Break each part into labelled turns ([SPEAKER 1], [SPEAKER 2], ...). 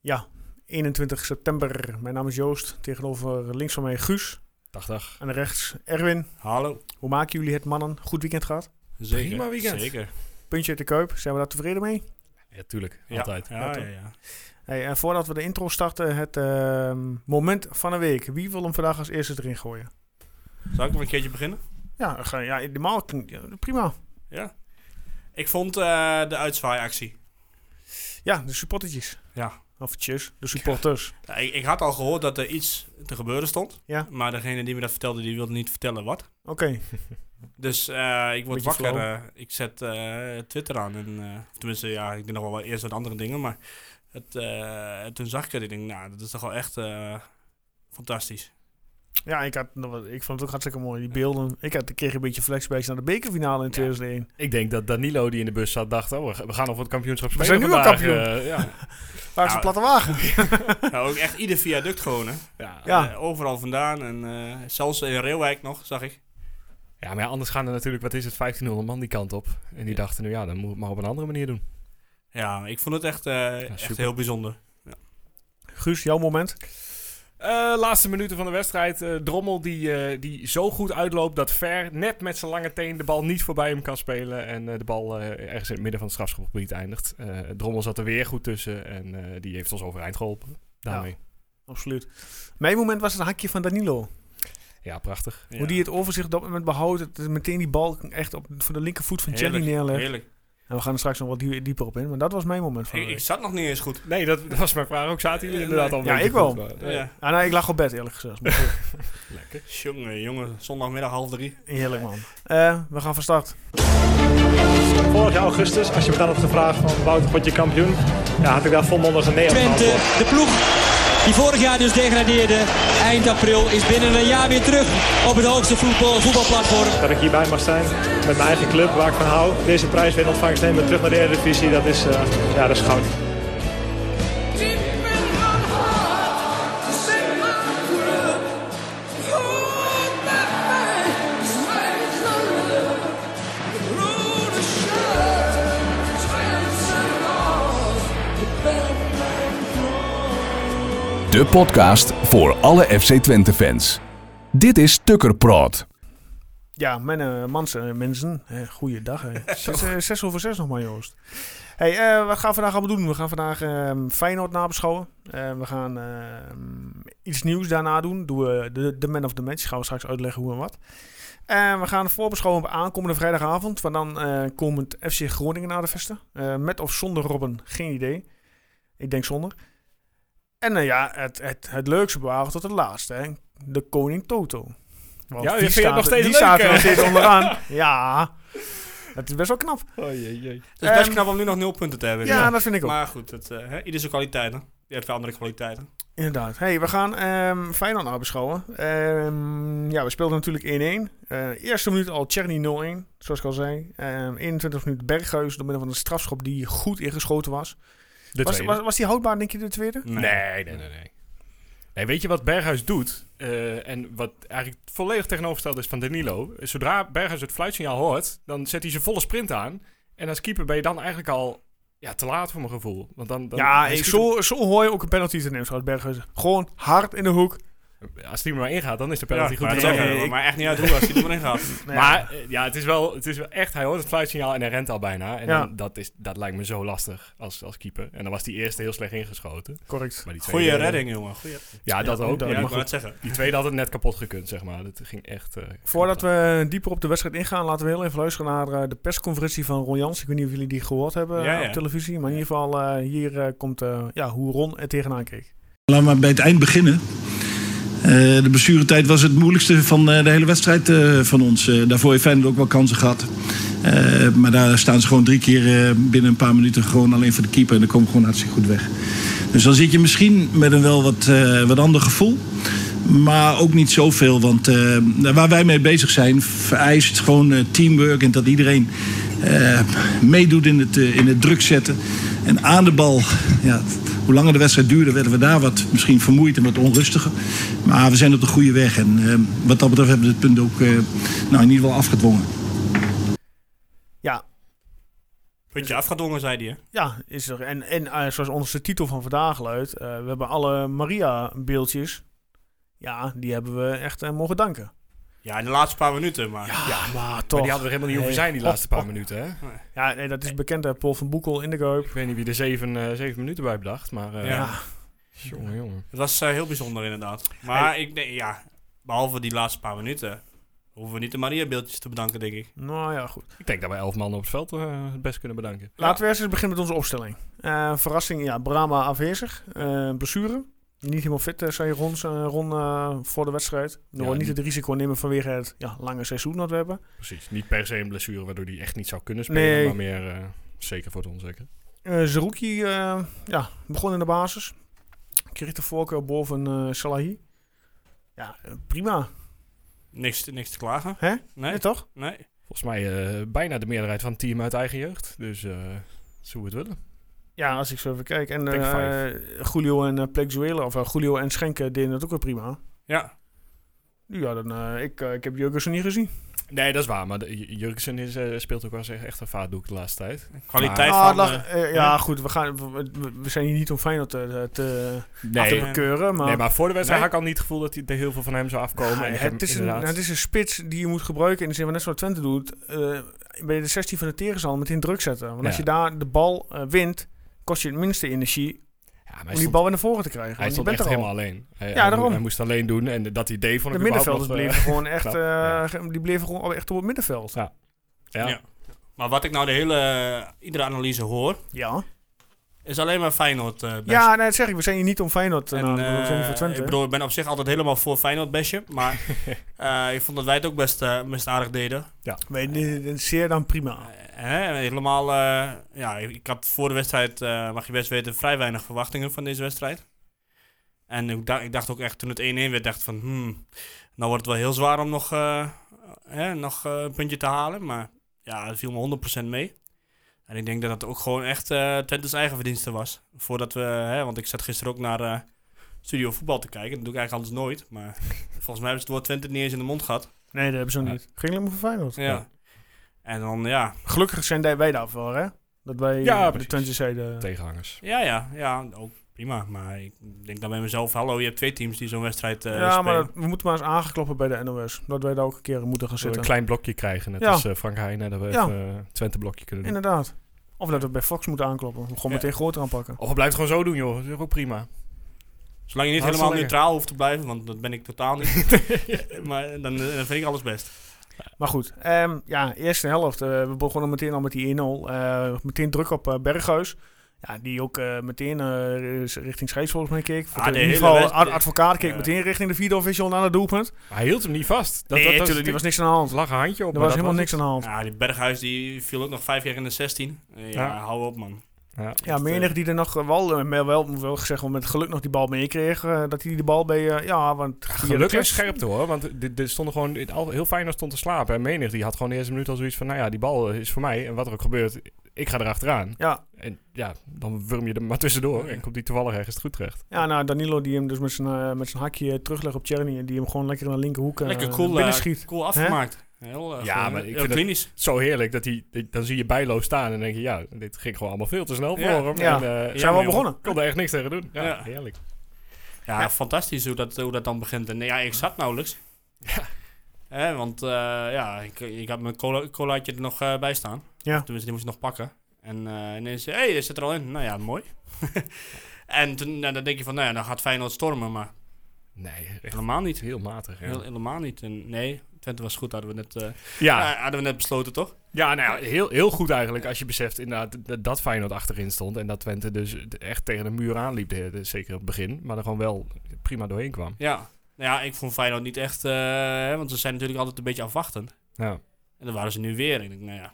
[SPEAKER 1] Ja, 21 september. Mijn naam is Joost. Tegenover links van mij Guus.
[SPEAKER 2] 80.
[SPEAKER 1] En rechts Erwin.
[SPEAKER 3] Hallo.
[SPEAKER 1] Hoe maken jullie het, mannen? Goed weekend gehad?
[SPEAKER 2] Zeker.
[SPEAKER 3] Prima weekend.
[SPEAKER 2] Zeker.
[SPEAKER 1] Puntje uit de kuip. Zijn we daar tevreden mee?
[SPEAKER 2] Ja, tuurlijk.
[SPEAKER 3] Ja.
[SPEAKER 2] Altijd.
[SPEAKER 3] Ja, ja, ja,
[SPEAKER 1] Hey, en voordat we de intro starten, het ehm, moment van de week. Wie wil hem vandaag als eerste erin gooien?
[SPEAKER 3] Zal ik nog een keertje beginnen?
[SPEAKER 1] Ja, ga- ja normaal klinkt- ja, prima.
[SPEAKER 3] Ja. Ik vond eh, de uitzwaaiactie.
[SPEAKER 1] Ja, de supportertjes.
[SPEAKER 3] Ja.
[SPEAKER 1] Of tjes, de supporters.
[SPEAKER 3] Ja, ik, ik had al gehoord dat er iets te gebeuren stond.
[SPEAKER 1] Ja.
[SPEAKER 3] Maar degene die me dat vertelde, die wilde niet vertellen wat.
[SPEAKER 1] Oké.
[SPEAKER 3] Dus eh, ik word
[SPEAKER 1] Beetje
[SPEAKER 3] wakker. eh, ik zet eh, Twitter aan. En, eh, of tenminste, ja, ik deed nog wel wat- eerst wat andere dingen. Maar het, eh, toen zag ik het. Ik denk, nou, dat is toch wel echt eh, fantastisch.
[SPEAKER 1] Ja, ik, had, ik vond het ook hartstikke mooi, die beelden. Ik had een keer een beetje flashbacks naar de bekerfinale in
[SPEAKER 3] Ja.
[SPEAKER 1] 2001.
[SPEAKER 2] Ik denk dat Danilo die in de bus zat dacht, oh, we ga- we gaan nog wat kampioenschap
[SPEAKER 1] We
[SPEAKER 2] spelen
[SPEAKER 1] zijn nu al
[SPEAKER 2] vandaag.
[SPEAKER 1] kampioen.
[SPEAKER 2] Eh, ja.
[SPEAKER 1] Waar is de
[SPEAKER 3] Nou,
[SPEAKER 1] platte wagen?
[SPEAKER 3] nou, ook echt ieder viaduct gewoon, hè.
[SPEAKER 2] Ja. ja.
[SPEAKER 1] Ja.
[SPEAKER 3] Eh, overal vandaan. En eh, zelfs in Reeuwijk nog, zag ik.
[SPEAKER 2] maar ja, anders gaan er natuurlijk, wat is het, 1500 man die kant op. En die dachten nu, ja, dan moet het maar op een andere manier doen.
[SPEAKER 3] Ja, ik vond het echt, eh, echt
[SPEAKER 2] super.
[SPEAKER 3] heel bijzonder.
[SPEAKER 1] Guus, jouw moment.
[SPEAKER 2] Eh, laatste minuten van de wedstrijd. eh, Drommel die, eh, die zo goed uitloopt dat Ver net met zijn lange teen de bal niet voorbij hem kan spelen. En eh, de bal eh, ergens in het midden van het strafschopgebied eindigt. Eh, Drommel zat er weer goed tussen en eh, die heeft ons overeind geholpen. Daarmee.
[SPEAKER 1] Absoluut. Mijn moment was het hakje van Danilo.
[SPEAKER 2] Ja, prachtig.
[SPEAKER 3] Ja.
[SPEAKER 1] Hoe die het overzicht op dat moment behoudt. Het, meteen die bal echt op, voor de linkervoet van Chelly
[SPEAKER 3] Heerlijk,
[SPEAKER 1] neerleggen.
[SPEAKER 3] Heerlijk.
[SPEAKER 1] En we gaan er straks nog wat die- dieper op in. Maar dat was mijn moment van de
[SPEAKER 3] Ik, ik
[SPEAKER 1] week.
[SPEAKER 3] zat nog niet eens goed.
[SPEAKER 2] Nee, dat, dat was mijn vraag ook. Zaten jullie inderdaad al een
[SPEAKER 1] Ja,
[SPEAKER 2] beetje
[SPEAKER 1] ik wel.
[SPEAKER 2] goed, maar, nee.
[SPEAKER 3] Ja.
[SPEAKER 1] Ah, nou, ik lag op bed eerlijk gezegd. Maar goed.
[SPEAKER 2] Lekker.
[SPEAKER 3] Jongen, jongen, zondagmiddag half drie.
[SPEAKER 1] Heerlijk man. Eh, we gaan van start.
[SPEAKER 4] Vorig jaar augustus, als je me dan op de vraag van Wouter, word je kampioen? Ja, had ik daar volmondig een nee op
[SPEAKER 5] Twente,
[SPEAKER 4] geantwoord.
[SPEAKER 5] de ploeg die vorig jaar dus degradeerde, eind april, is binnen een jaar weer terug op het hoogste voetbal, voetbalplatform.
[SPEAKER 4] Dat ik hierbij mag zijn met mijn eigen club, waar ik van hou. Deze prijs weer in ontvangst nemen, terug naar de Eredivisie, dat is, eh, ja, dat is goud.
[SPEAKER 6] De podcast voor alle FC Twente fans. Dit is Tukker Praat.
[SPEAKER 1] Ja, mijn eh, mans, eh, mensen. Eh, goeiedag. eh. Het is, eh, zes over zes nog maar, Joost. Hey, eh, wat gaan we vandaag allemaal doen? We gaan vandaag ehm, Feyenoord nabeschouwen. Eh, we gaan ehm, iets nieuws daarna doen. Doen we de, de man of the match. Gaan we straks uitleggen hoe en wat. En we gaan voorbeschouwen op aankomende vrijdagavond. Want dan eh komt FC Groningen aan de vesten. Eh, met of zonder Robben, geen idee. Ik denk zonder. En eh, ja, het, het, het leukste bewaren tot het laatste. Hè? De Koning Toto. Want
[SPEAKER 2] Ja,
[SPEAKER 1] die
[SPEAKER 2] vind je het
[SPEAKER 1] staat-
[SPEAKER 2] nog steeds
[SPEAKER 1] Die
[SPEAKER 2] leuk,
[SPEAKER 1] staat er
[SPEAKER 2] hè?
[SPEAKER 1] nog steeds onderaan. Ja, het is best wel knap.
[SPEAKER 2] Oh, jee, jee.
[SPEAKER 3] Het is best
[SPEAKER 1] Ehm,
[SPEAKER 3] knap om nu nog nul punten te hebben.
[SPEAKER 1] Ja, dat vind ik ook.
[SPEAKER 3] Maar goed, het, eh, hè, ieder zijn kwaliteiten. Je hebt wel andere kwaliteiten.
[SPEAKER 1] Inderdaad. Hey, we gaan ehm Feyenoord nabeschouwen. Ehm, ja, we speelden natuurlijk 1-1. Eh, eerste minuut al Cherny 0-1, zoals ik al zei. Ehm 21 minuut Berghuis door middel van een strafschop die goed ingeschoten was.
[SPEAKER 2] De
[SPEAKER 1] Was,
[SPEAKER 2] tweede.
[SPEAKER 1] was, was die houdbaar, denk je, de tweede?
[SPEAKER 2] Nee, nee, nee, nee. Nee, weet je wat Berghuis doet? Eh, en wat eigenlijk volledig tegenovergesteld is van Danilo. Zodra Berghuis het fluitsignaal hoort, dan zet hij zijn volle sprint aan. En als keeper ben je dan eigenlijk al ja, te laat voor mijn gevoel. Want dan, dan
[SPEAKER 1] ja,
[SPEAKER 2] hij
[SPEAKER 1] ik-
[SPEAKER 2] schiet
[SPEAKER 1] zo, zo hoor je ook een penalty te nemen, zoals Berghuis. Gewoon hard in de hoek.
[SPEAKER 2] hem- als die er maar ingaat, dan is de penalty
[SPEAKER 3] Ja,
[SPEAKER 2] goed.
[SPEAKER 3] maar,
[SPEAKER 1] te
[SPEAKER 3] dat
[SPEAKER 1] zeggen.
[SPEAKER 3] maakt
[SPEAKER 1] Ik-
[SPEAKER 3] maar echt niet uit hoe als hij er maar in gaat.
[SPEAKER 1] Nou ja.
[SPEAKER 2] Maar eh, ja, het is, wel, het is wel echt, hij hoort het fluitsignaal en hij rent al bijna. En
[SPEAKER 1] Ja.
[SPEAKER 2] dan- dat, is, dat lijkt me zo lastig als, als keeper. En dan was die eerste heel slecht ingeschoten.
[SPEAKER 1] correct.
[SPEAKER 2] Maar die tweede,
[SPEAKER 3] Goeie redding, jongen. Goeie,
[SPEAKER 2] Ja, dat
[SPEAKER 1] Ja,
[SPEAKER 2] ook.
[SPEAKER 1] dat-
[SPEAKER 2] maar
[SPEAKER 3] ja,
[SPEAKER 2] die-
[SPEAKER 3] ik wou het zeggen.
[SPEAKER 2] die tweede had het net kapot gekund, zeg maar. Dat ging echt... eh,
[SPEAKER 1] Voordat we dieper op de wedstrijd ingaan, laten we heel even luisteren naar eh, de persconferentie van Ron Jans. Ik weet niet of jullie die gehoord hebben
[SPEAKER 3] Ja,
[SPEAKER 1] eh,
[SPEAKER 3] ja.
[SPEAKER 1] op televisie. Maar in ieder geval, eh, hier eh, komt eh, ja, hoe Ron er tegenaan keek.
[SPEAKER 7] Laten we maar bij het eind beginnen. Eh, de blessuretijd was het moeilijkste van eh, de hele wedstrijd eh, van ons. Eh, daarvoor heeft Feyenoord ook wel kansen gehad. Eh, maar daar staan ze gewoon drie keer eh, binnen een paar minuten gewoon alleen voor de keeper. En dan komen we gewoon hartstikke goed weg. Dus dan zit je misschien met een wel wat, eh, wat ander gevoel. Maar ook niet zoveel. Want eh, waar wij mee bezig zijn vereist gewoon eh, teamwork. En dat iedereen eh, meedoet in het, eh, in het druk zetten. En aan de bal, ja, hoe langer de wedstrijd duurde, werden we daar wat misschien vermoeid en wat onrustiger. Maar we zijn op de goede weg. En eh, wat dat betreft hebben we het punt ook eh, nou, in ieder geval afgedwongen.
[SPEAKER 1] Ja,
[SPEAKER 3] Puntje afgedwongen, zei hij. hè?
[SPEAKER 1] Ja, is er. En, en eh, zoals onze titel van vandaag luidt, eh, we hebben alle Maria-beeldjes. Ja, die hebben we echt eh, mogen danken.
[SPEAKER 3] Ja, in de laatste paar minuten, maar...
[SPEAKER 1] Ja, maar toch.
[SPEAKER 2] Ah, Maar die hadden er helemaal niet hoeven
[SPEAKER 1] Nee. Oh,
[SPEAKER 2] zijn, die laatste paar minuten. Hè?
[SPEAKER 1] Ja, nee, dat is bekend, hè. Paul van Boekel in de Kuip.
[SPEAKER 2] Ik weet niet wie er zeven, eh, zeven minuten bij bedacht, maar... eh,
[SPEAKER 3] Ja.
[SPEAKER 2] Jongen, jongen.
[SPEAKER 3] Het was eh, heel bijzonder, inderdaad. Maar ik denk, ja, behalve die laatste paar minuten... hoeven we niet de Maria-beeldjes te bedanken, denk ik.
[SPEAKER 1] Nou ja, goed.
[SPEAKER 2] Ik denk dat wij elf mannen op het veld eh, het best kunnen bedanken.
[SPEAKER 1] Laten we eerst eens beginnen met onze opstelling. Eh, verrassing, ja, Brahma afwezig. Eh blessure. Niet helemaal fit, eh, zei Ron, eh, Ron eh, voor de wedstrijd. We
[SPEAKER 2] Ja,
[SPEAKER 1] willen niet
[SPEAKER 2] die-
[SPEAKER 1] het risico nemen vanwege het ja, lange seizoen dat we hebben.
[SPEAKER 2] Precies. Niet per se een blessure waardoor hij echt niet zou kunnen spelen,
[SPEAKER 1] Nee.
[SPEAKER 2] maar meer eh, zeker voor het onzeker.
[SPEAKER 1] Eh Zerouki eh, ja, begon in de basis. Kreeg de voorkeur boven eh, Salahi. Ja, eh, prima.
[SPEAKER 3] Niks, te- niks te klagen.
[SPEAKER 1] Hè?
[SPEAKER 3] Nee,
[SPEAKER 1] Ja, toch?
[SPEAKER 3] nee.
[SPEAKER 2] Volgens mij eh, bijna de meerderheid van het team uit eigen jeugd. Dus eh zo we het willen.
[SPEAKER 1] Ja, als ik zo even kijk. En
[SPEAKER 2] Take
[SPEAKER 1] eh,
[SPEAKER 2] five.
[SPEAKER 1] Julio en uh, of eh, Julio en Schenken deden het ook weer prima.
[SPEAKER 3] Ja.
[SPEAKER 1] Ja, dan, eh, ik, eh, ik heb Jurgensen niet gezien.
[SPEAKER 2] Nee, dat is waar. Maar de- J- Jurgensen is, eh, speelt ook wel eens echt een vaatdoek de laatste tijd.
[SPEAKER 3] Kwaliteit
[SPEAKER 1] Ah,
[SPEAKER 3] van...
[SPEAKER 1] lag-
[SPEAKER 3] eh,
[SPEAKER 1] eh, ja, goed, we, gaan, we- we, we zijn hier niet om Feyenoord te, te, af te
[SPEAKER 2] Nee,
[SPEAKER 3] maar-
[SPEAKER 1] bekeuren, maar,
[SPEAKER 2] nee, maar voor de wedstrijd
[SPEAKER 1] Nee.
[SPEAKER 2] had ik al niet het gevoel dat hij- er heel veel van hem zou afkomen.
[SPEAKER 1] Ja,
[SPEAKER 2] en ik heb
[SPEAKER 1] het, is een,
[SPEAKER 2] inderdaad-
[SPEAKER 1] het is een spits die je moet gebruiken in de zin van net zoals Twente doet, eh bij de 16 van de tegenstander meteen druk zetten. Want als
[SPEAKER 2] Ja.
[SPEAKER 1] je daar de bal eh, wint, kost je het minste energie
[SPEAKER 2] Ja, maar hij
[SPEAKER 1] om die
[SPEAKER 2] stond-
[SPEAKER 1] bal weer naar voren te krijgen.
[SPEAKER 2] Hij
[SPEAKER 1] want je
[SPEAKER 2] stond
[SPEAKER 1] bent
[SPEAKER 2] echt
[SPEAKER 1] er al.
[SPEAKER 2] helemaal alleen. Hij,
[SPEAKER 1] Ja,
[SPEAKER 2] hij moest-
[SPEAKER 1] daarom.
[SPEAKER 2] Hij moest alleen doen en dat idee vond
[SPEAKER 1] De
[SPEAKER 2] ik überhaupt nog,
[SPEAKER 1] middenvelders bleven gewoon echt,
[SPEAKER 2] knap,
[SPEAKER 1] eh,
[SPEAKER 2] ja.
[SPEAKER 1] ge- die bleven gewoon echt op het middenveld.
[SPEAKER 2] Ja. eh, ja.
[SPEAKER 3] Ja. Maar wat ik nou de hele... eh, iedere analyse hoor...
[SPEAKER 1] Ja,
[SPEAKER 3] is alleen maar Feyenoord eh, best.
[SPEAKER 1] ja nee, dat zeg ik. We zijn hier niet om Feyenoord, nou, en,
[SPEAKER 3] En,
[SPEAKER 1] we zijn hier
[SPEAKER 3] eh,
[SPEAKER 1] voor Twente.
[SPEAKER 3] ik bedoel, ik ben op zich altijd helemaal voor Feyenoord bestje, maar eh, ik vond dat wij het ook best, eh, best aardig deden.
[SPEAKER 1] Wij dit zeer dan prima.
[SPEAKER 3] Eh, hè, helemaal, eh, ja, ik, ik had voor de wedstrijd, eh, mag je best weten, vrij weinig verwachtingen van deze wedstrijd. En ik, da- ik dacht ook echt, toen het 1-1 werd, dacht van, hmm, nou wordt het wel heel zwaar om nog, eh, hè, nog eh, een puntje te halen. Maar ja, het viel me 100% mee. En ik denk dat dat ook gewoon echt eh Twente's eigen verdienste was. Voordat we, hè, want ik zat gisteren ook naar eh, Studio Voetbal te kijken. Dat doe ik eigenlijk anders nooit. Maar volgens mij hebben ze het woord Twente niet eens in de mond gehad.
[SPEAKER 1] Nee, dat hebben ze nog
[SPEAKER 2] Ja.
[SPEAKER 1] niet. Ging alleen maar voor Feyenoord.
[SPEAKER 3] Ja. En dan, ja,
[SPEAKER 1] Gelukkig zijn daar- wij daarvoor, hè? Dat wij
[SPEAKER 2] Ja,
[SPEAKER 1] ja, de
[SPEAKER 2] precies.
[SPEAKER 1] Twente zeiden...
[SPEAKER 2] tegenhangers.
[SPEAKER 3] Ja, ja, ja, ook prima. Maar ik denk dan bij mezelf, hallo, je hebt twee teams die zo'n wedstrijd eh
[SPEAKER 1] ja,
[SPEAKER 3] spelen.
[SPEAKER 1] maar dat- we moeten maar eens aangekloppen bij de NOS. Dat wij daar ook een keer in moeten gaan
[SPEAKER 2] Zullen we
[SPEAKER 1] zitten.
[SPEAKER 2] een klein blokje krijgen, net
[SPEAKER 1] Ja.
[SPEAKER 2] als eh, Frank Heijnen, dat we
[SPEAKER 1] Ja.
[SPEAKER 2] even eh, Twente blokje kunnen doen.
[SPEAKER 1] Inderdaad. Of dat we bij Fox moeten aankloppen. Gewoon meteen groot aanpakken.
[SPEAKER 2] Of we blijven het gewoon zo doen, joh. Dat is ook prima.
[SPEAKER 3] Zolang je niet
[SPEAKER 2] Hartstikke
[SPEAKER 3] helemaal
[SPEAKER 2] lekker.
[SPEAKER 3] neutraal hoeft te blijven, want dat ben ik totaal niet. maar dan, eh, dan vind ik alles best.
[SPEAKER 1] Maar goed, ehm, ja, eerste helft. eh, we begonnen meteen al met die 1-0. Eh, meteen druk op eh, Berghuis. Ja, die ook eh, meteen eh, is richting scheids volgens mij keek.
[SPEAKER 3] Ah,
[SPEAKER 1] in
[SPEAKER 3] de
[SPEAKER 1] ieder
[SPEAKER 3] hele
[SPEAKER 1] geval,
[SPEAKER 3] wedst-
[SPEAKER 1] ad- advocaat keek
[SPEAKER 3] Ja.
[SPEAKER 1] meteen richting de vierde official naar het doelpunt.
[SPEAKER 2] Maar hij hield hem niet vast. Dat,
[SPEAKER 1] nee,
[SPEAKER 2] dat, dat,
[SPEAKER 1] natuurlijk, die was niks aan de hand.
[SPEAKER 2] lag een handje op.
[SPEAKER 1] Er
[SPEAKER 2] maar
[SPEAKER 1] was
[SPEAKER 2] dat
[SPEAKER 1] helemaal niks aan de hand.
[SPEAKER 3] Ja, die Berghuis die viel ook nog vijf jaar in de 16. Eh, ja,
[SPEAKER 2] Ja.
[SPEAKER 3] hou op, man.
[SPEAKER 2] Ja.
[SPEAKER 1] Ja,
[SPEAKER 3] Echt,
[SPEAKER 1] menig
[SPEAKER 3] eh,
[SPEAKER 1] die er nog eh, wel, eh, wel, wel, wel gezegd, wel met geluk nog die bal meekreeg. eh, dat hij die bal bij, eh, ja, want... via de
[SPEAKER 2] Gelukkig
[SPEAKER 1] kast-
[SPEAKER 2] scherpte hoor, want dit, dit stonden gewoon, dit al, heel Feyenoord stond te slapen. En menig, die had gewoon de eerste minuut al zoiets van, nou ja, die bal is voor mij. En wat er ook gebeurt, ik ga erachteraan.
[SPEAKER 1] Ja.
[SPEAKER 2] En ja, dan wurm je er maar tussendoor en komt die toevallig ergens goed terecht.
[SPEAKER 1] ja, nou, Danilo die hem dus met zijn, eh, met zijn hakje teruglegt op Cherny. En die hem gewoon lekker in de linkerhoek eh,
[SPEAKER 3] Lekker
[SPEAKER 1] naar
[SPEAKER 3] cool,
[SPEAKER 1] binnen
[SPEAKER 3] eh,
[SPEAKER 1] schiet.
[SPEAKER 3] cool afgemaakt. Heel, eh,
[SPEAKER 2] Ja,
[SPEAKER 3] gewoon
[SPEAKER 2] maar ik
[SPEAKER 3] heel
[SPEAKER 2] vind dat-
[SPEAKER 3] klinisch.
[SPEAKER 2] Zo heerlijk, dat die, dit- dan zie je Bijlo staan en denk je, ja, dit ging gewoon allemaal veel te snel voor
[SPEAKER 3] Ja.
[SPEAKER 2] hem.
[SPEAKER 1] Ja.
[SPEAKER 2] En, eh,
[SPEAKER 1] Zijn we al
[SPEAKER 3] jongen.
[SPEAKER 1] begonnen?
[SPEAKER 2] kon er echt niks tegen doen. Ja,
[SPEAKER 3] Ja.
[SPEAKER 2] heerlijk.
[SPEAKER 3] Ja, fantastisch hoe dat, hoe dat dan begint. En ja, ik zat nauwelijks. Hè, want eh, ja, ik, ik had mijn cola, colaatje er nog eh, bij staan.
[SPEAKER 1] Ja.
[SPEAKER 3] Tenminste, die moest ik nog pakken. En eh ineens, hé, hey, je zit er al in. Nou ja, mooi. en toen, nou, dan denk je van, nou ja, dan gaat Feyenoord stormen. Maar
[SPEAKER 2] Nee, echt
[SPEAKER 3] helemaal niet.
[SPEAKER 2] heel matig. Ja,
[SPEAKER 3] Heel- helemaal niet. En nee, Twente was goed, hadden we net, eh,
[SPEAKER 2] ja,
[SPEAKER 3] nou, hadden we net besloten, toch?
[SPEAKER 2] ja nou ja, heel, heel goed eigenlijk als je beseft inderdaad dat- dat Feyenoord achterin stond. En dat Twente dus echt tegen de muur aanliep, de- de- zeker op het begin. Maar er gewoon wel prima doorheen kwam.
[SPEAKER 3] Ja. Nou ja, ik vond Feyenoord niet echt... eh, hè, want ze zijn natuurlijk altijd een beetje afwachtend.
[SPEAKER 2] Ja.
[SPEAKER 3] En dan waren ze nu weer. Ik denk, nou ja,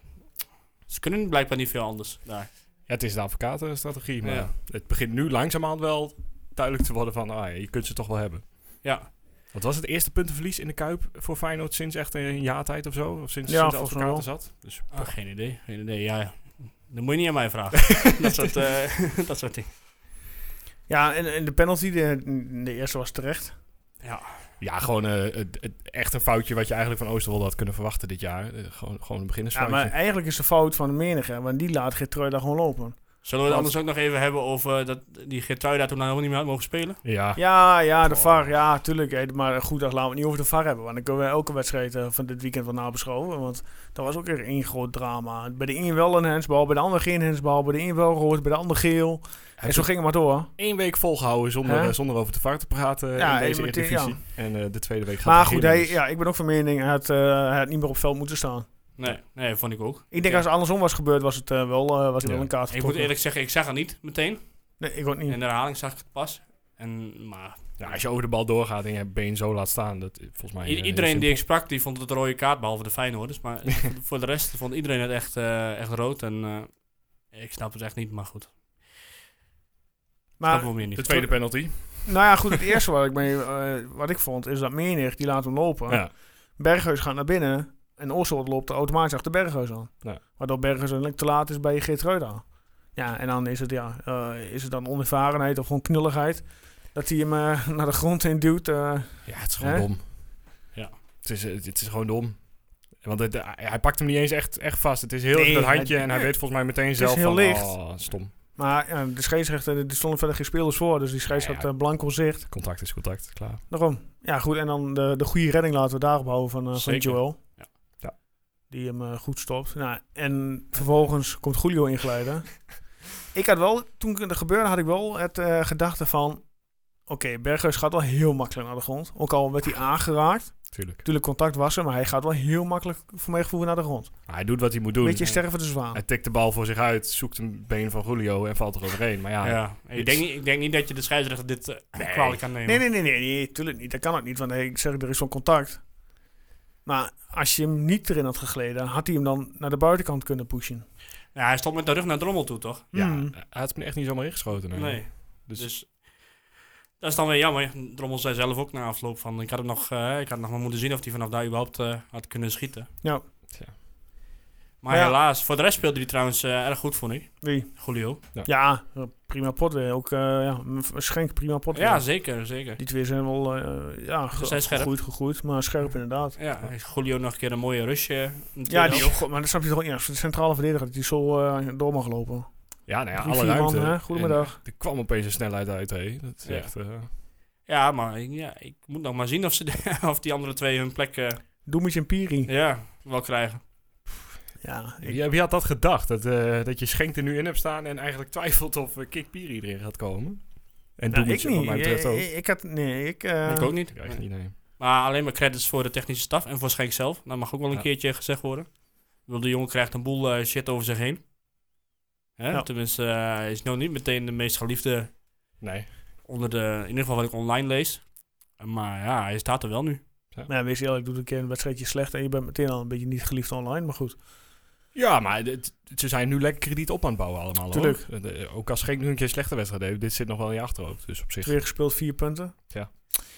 [SPEAKER 3] ze kunnen blijkbaar niet veel anders daar.
[SPEAKER 2] Ja, het is de advocatenstrategie, maar
[SPEAKER 3] Ja.
[SPEAKER 2] het begint nu langzamerhand wel duidelijk te worden van, ah, ja, je kunt ze toch wel hebben.
[SPEAKER 3] Ja.
[SPEAKER 2] Wat was het eerste puntenverlies in de Kuip voor Feyenoord sinds echt een jaar tijd of zo? Of sinds,
[SPEAKER 1] Ja,
[SPEAKER 2] sinds de
[SPEAKER 1] volgens mij
[SPEAKER 2] advocaten zat? Dus,
[SPEAKER 3] Ah, geen idee, geen idee. Ja, ja. Dan moet je niet aan mij vragen. dat, soort, eh, dat soort dingen.
[SPEAKER 1] Ja, en, en de penalty, de, de eerste was terecht.
[SPEAKER 3] Ja.
[SPEAKER 2] Ja, gewoon eh, het- het- echt een foutje wat je eigenlijk van Oosterwolde had kunnen verwachten dit jaar. Eh, gewoon, gewoon een
[SPEAKER 1] Ja,
[SPEAKER 2] beginnersfoutje.
[SPEAKER 1] maar eigenlijk is de fout van de menige, want die laat Gertruida gewoon lopen.
[SPEAKER 3] Zullen we het anders ook nog even hebben over dat die Geertruida toen nou helemaal niet meer had mogen spelen?
[SPEAKER 2] ja.
[SPEAKER 1] Ja, ja, de VAR, ja, tuurlijk. hè, Maar goed, dat laten we het niet over de VAR hebben. Want dan kunnen we elke wedstrijd eh, van dit weekend wel nabeschouwen. Want dat was ook weer één groot drama. Bij de een wel een hensbal, bij de ander geen hensbal. Bij de een wel rood, bij de ander geel. En zo ging het maar door.
[SPEAKER 2] één week volgehouden zonder,
[SPEAKER 1] Hè?
[SPEAKER 2] eh, zonder over de VAR te praten eh,
[SPEAKER 1] Ja,
[SPEAKER 2] in deze
[SPEAKER 1] en meteen,
[SPEAKER 2] Eredivisie. En eh, de tweede week gaat
[SPEAKER 1] Maar
[SPEAKER 2] het
[SPEAKER 1] goed,
[SPEAKER 2] beginnen,
[SPEAKER 1] hij,
[SPEAKER 2] dus-
[SPEAKER 1] ja, ik ben ook van mening, hij had, eh, hij had niet meer op veld moeten staan.
[SPEAKER 3] Nee, nee, vond ik ook.
[SPEAKER 1] Ik denk als het andersom was gebeurd, was het eh, wel, eh, was hij
[SPEAKER 2] Ja.
[SPEAKER 1] wel een kaart
[SPEAKER 3] Ik moet
[SPEAKER 1] getrokken.
[SPEAKER 3] eerlijk zeggen, ik zag het niet meteen.
[SPEAKER 1] Nee, ik ook niet.
[SPEAKER 3] In de herhaling zag ik het pas. En, maar
[SPEAKER 2] Ja, als je over de bal doorgaat en je been zo laat staan, dat is volgens mij... eh,
[SPEAKER 3] i-
[SPEAKER 2] heel
[SPEAKER 3] iedereen
[SPEAKER 2] simpel.
[SPEAKER 3] die ik sprak, die vond het een rode kaart, behalve de Feyenoorders. Maar voor de rest vond iedereen het echt, eh, echt rood. En eh, ik snap het echt niet, maar goed.
[SPEAKER 1] maar Ah,
[SPEAKER 3] dat wil meer niet.
[SPEAKER 2] De tweede penalty.
[SPEAKER 1] nou ja, goed, het eerste wat ik, mee, eh, wat ik vond, is dat Menig, die laat hem lopen.
[SPEAKER 2] Ja.
[SPEAKER 1] Berghuis gaat naar binnen en Oswald loopt automatisch achter Berghuis aan.
[SPEAKER 2] Ja.
[SPEAKER 1] Waardoor Berghuis uiteindelijk te laat is bij Geert Reuda. Ja, en dan is het, ja, eh, is het dan onervarenheid of gewoon knulligheid. Dat hij hem eh, naar de grond in duwt. eh.
[SPEAKER 2] Ja, het is gewoon
[SPEAKER 1] Hè?
[SPEAKER 2] dom.
[SPEAKER 3] Ja.
[SPEAKER 2] Het is, eh, het is gewoon dom. Want het- hij- hij pakt hem niet eens echt, echt vast. Het is heel
[SPEAKER 1] Nee,
[SPEAKER 2] even dat handje
[SPEAKER 1] hij-
[SPEAKER 2] en hij weet volgens mij meteen
[SPEAKER 1] is
[SPEAKER 2] zelf
[SPEAKER 1] heel
[SPEAKER 2] van,
[SPEAKER 1] licht.
[SPEAKER 2] oh, stom.
[SPEAKER 1] maar ja, de scheidsrechter, er stonden verder geen spelers voor. Dus die scheidsrechter
[SPEAKER 2] Nou Ja,
[SPEAKER 1] had eh, blanco zicht.
[SPEAKER 2] Contact is contact, klaar.
[SPEAKER 1] Daarom. Ja, goed. En dan de, de goede redding laten we daarop houden van, eh, van
[SPEAKER 3] Zeker.
[SPEAKER 1] Joel.
[SPEAKER 3] Ja.
[SPEAKER 2] Ja.
[SPEAKER 1] Die hem eh, goed stopt. Nou, en vervolgens komt Julio inglijden. ik had wel, toen het gebeurde, had ik wel het eh, gedachte van... Oké, Berghuis gaat wel heel makkelijk naar de grond. Ook al werd hij aangeraakt.
[SPEAKER 2] Tuurlijk.
[SPEAKER 1] Natuurlijk contact was er, maar hij gaat wel heel makkelijk voor mijn gevoel naar de grond.
[SPEAKER 2] Maar hij doet wat hij moet doen.
[SPEAKER 1] Beetje sterren voor de zwaan.
[SPEAKER 2] Hij tikt de bal voor zich uit, zoekt een been van Julio en valt er overheen. Maar ja,
[SPEAKER 3] Ja, Ik, denk, niet- ik denk niet dat je de scheidsrechter dit eh, kwalijk kan nemen.
[SPEAKER 1] Nee, nee, nee, nee, nee, tuurlijk niet. Dat kan ook niet, want hey, ik zeg, er is zo'n contact. Maar als je hem niet erin had gegleden, had hij hem dan naar de buitenkant kunnen pushen.
[SPEAKER 3] Ja, hij stond met de rug naar Drommel toe, toch?
[SPEAKER 2] ja,
[SPEAKER 1] Mm.
[SPEAKER 2] hij had me echt niet zomaar ingeschoten. nee.
[SPEAKER 3] Nee.
[SPEAKER 2] Dus,
[SPEAKER 3] Dus, dat is dan weer jammer. Drommel zei zelf ook na afloop van... Ik had, het nog, eh, ik had nog maar moeten zien of hij vanaf daar überhaupt eh, had kunnen schieten.
[SPEAKER 1] Ja.
[SPEAKER 2] Tja.
[SPEAKER 3] Maar
[SPEAKER 1] Ja.
[SPEAKER 3] helaas. Voor de rest speelde hij trouwens eh, erg goed, vond ik.
[SPEAKER 1] Wie?
[SPEAKER 3] Julio.
[SPEAKER 1] Ja, prima pot weer. Ook eh ja, Schenk, prima pot
[SPEAKER 3] Ja,
[SPEAKER 1] weer.
[SPEAKER 3] zeker, zeker.
[SPEAKER 1] Die twee zijn wel eh ja, ge-
[SPEAKER 3] zijn scherp.
[SPEAKER 1] gegroeid, gegroeid, maar scherp inderdaad.
[SPEAKER 3] Ja, heeft Julio nog een keer een mooie rusje.
[SPEAKER 1] Ja, die, oh, maar dat snap je toch niet. Als de centrale verdediger dat die zo eh, door mag lopen.
[SPEAKER 2] ja, nou ja,
[SPEAKER 1] Drie,
[SPEAKER 2] alle
[SPEAKER 1] vier man,
[SPEAKER 2] ruimte.
[SPEAKER 1] hè?
[SPEAKER 2] En
[SPEAKER 1] Goedemiddag.
[SPEAKER 2] Er kwam opeens een snelheid uit, hé. Dat is
[SPEAKER 3] Ja.
[SPEAKER 2] echt... eh,
[SPEAKER 3] Ja, maar ik- ja, ik moet nog maar zien of, ze de- of die andere twee hun plek eh,
[SPEAKER 1] Doemitje en Piri.
[SPEAKER 3] ja, wel krijgen.
[SPEAKER 1] Ja, ik,
[SPEAKER 2] wie, wie had dat gedacht? Dat, eh, dat je Schenk er nu in hebt staan en eigenlijk twijfelt of eh, Kik Piri erin gaat komen? En
[SPEAKER 1] nou,
[SPEAKER 2] doe
[SPEAKER 1] ik
[SPEAKER 2] het wat
[SPEAKER 1] niet.
[SPEAKER 2] mij
[SPEAKER 1] Ik,
[SPEAKER 2] betreft ook.
[SPEAKER 1] ik, ik had, nee, ik... eh,
[SPEAKER 3] ik ook niet.
[SPEAKER 2] Ja, ik niet, nee.
[SPEAKER 3] Maar alleen maar credits voor de technische staf en voor Schenk zelf. Dat mag ook wel een
[SPEAKER 2] Ja.
[SPEAKER 3] keertje gezegd worden. Ik bedoel, de jongen krijgt een boel eh, shit over zich heen. Hè?
[SPEAKER 1] Ja.
[SPEAKER 3] Tenminste, eh, hij is nog niet meteen de meest geliefde
[SPEAKER 2] Nee.
[SPEAKER 3] onder de... In ieder geval wat ik online lees. Maar ja, hij staat er wel nu.
[SPEAKER 1] Maar nou ja, wees eerlijk, doe een keer een wedstrijdje slecht en je bent meteen al een beetje niet geliefd online. Maar goed,
[SPEAKER 2] Ja, maar dit- ze zijn nu lekker krediet op aan het bouwen allemaal. hoor.
[SPEAKER 1] Tuurlijk.
[SPEAKER 2] Eh, de- Ook als Schenk nu een keer een slechte wedstrijd heeft, dit zit nog wel in je achterhoofd. Dus op zich...
[SPEAKER 1] twee gespeeld, vier punten.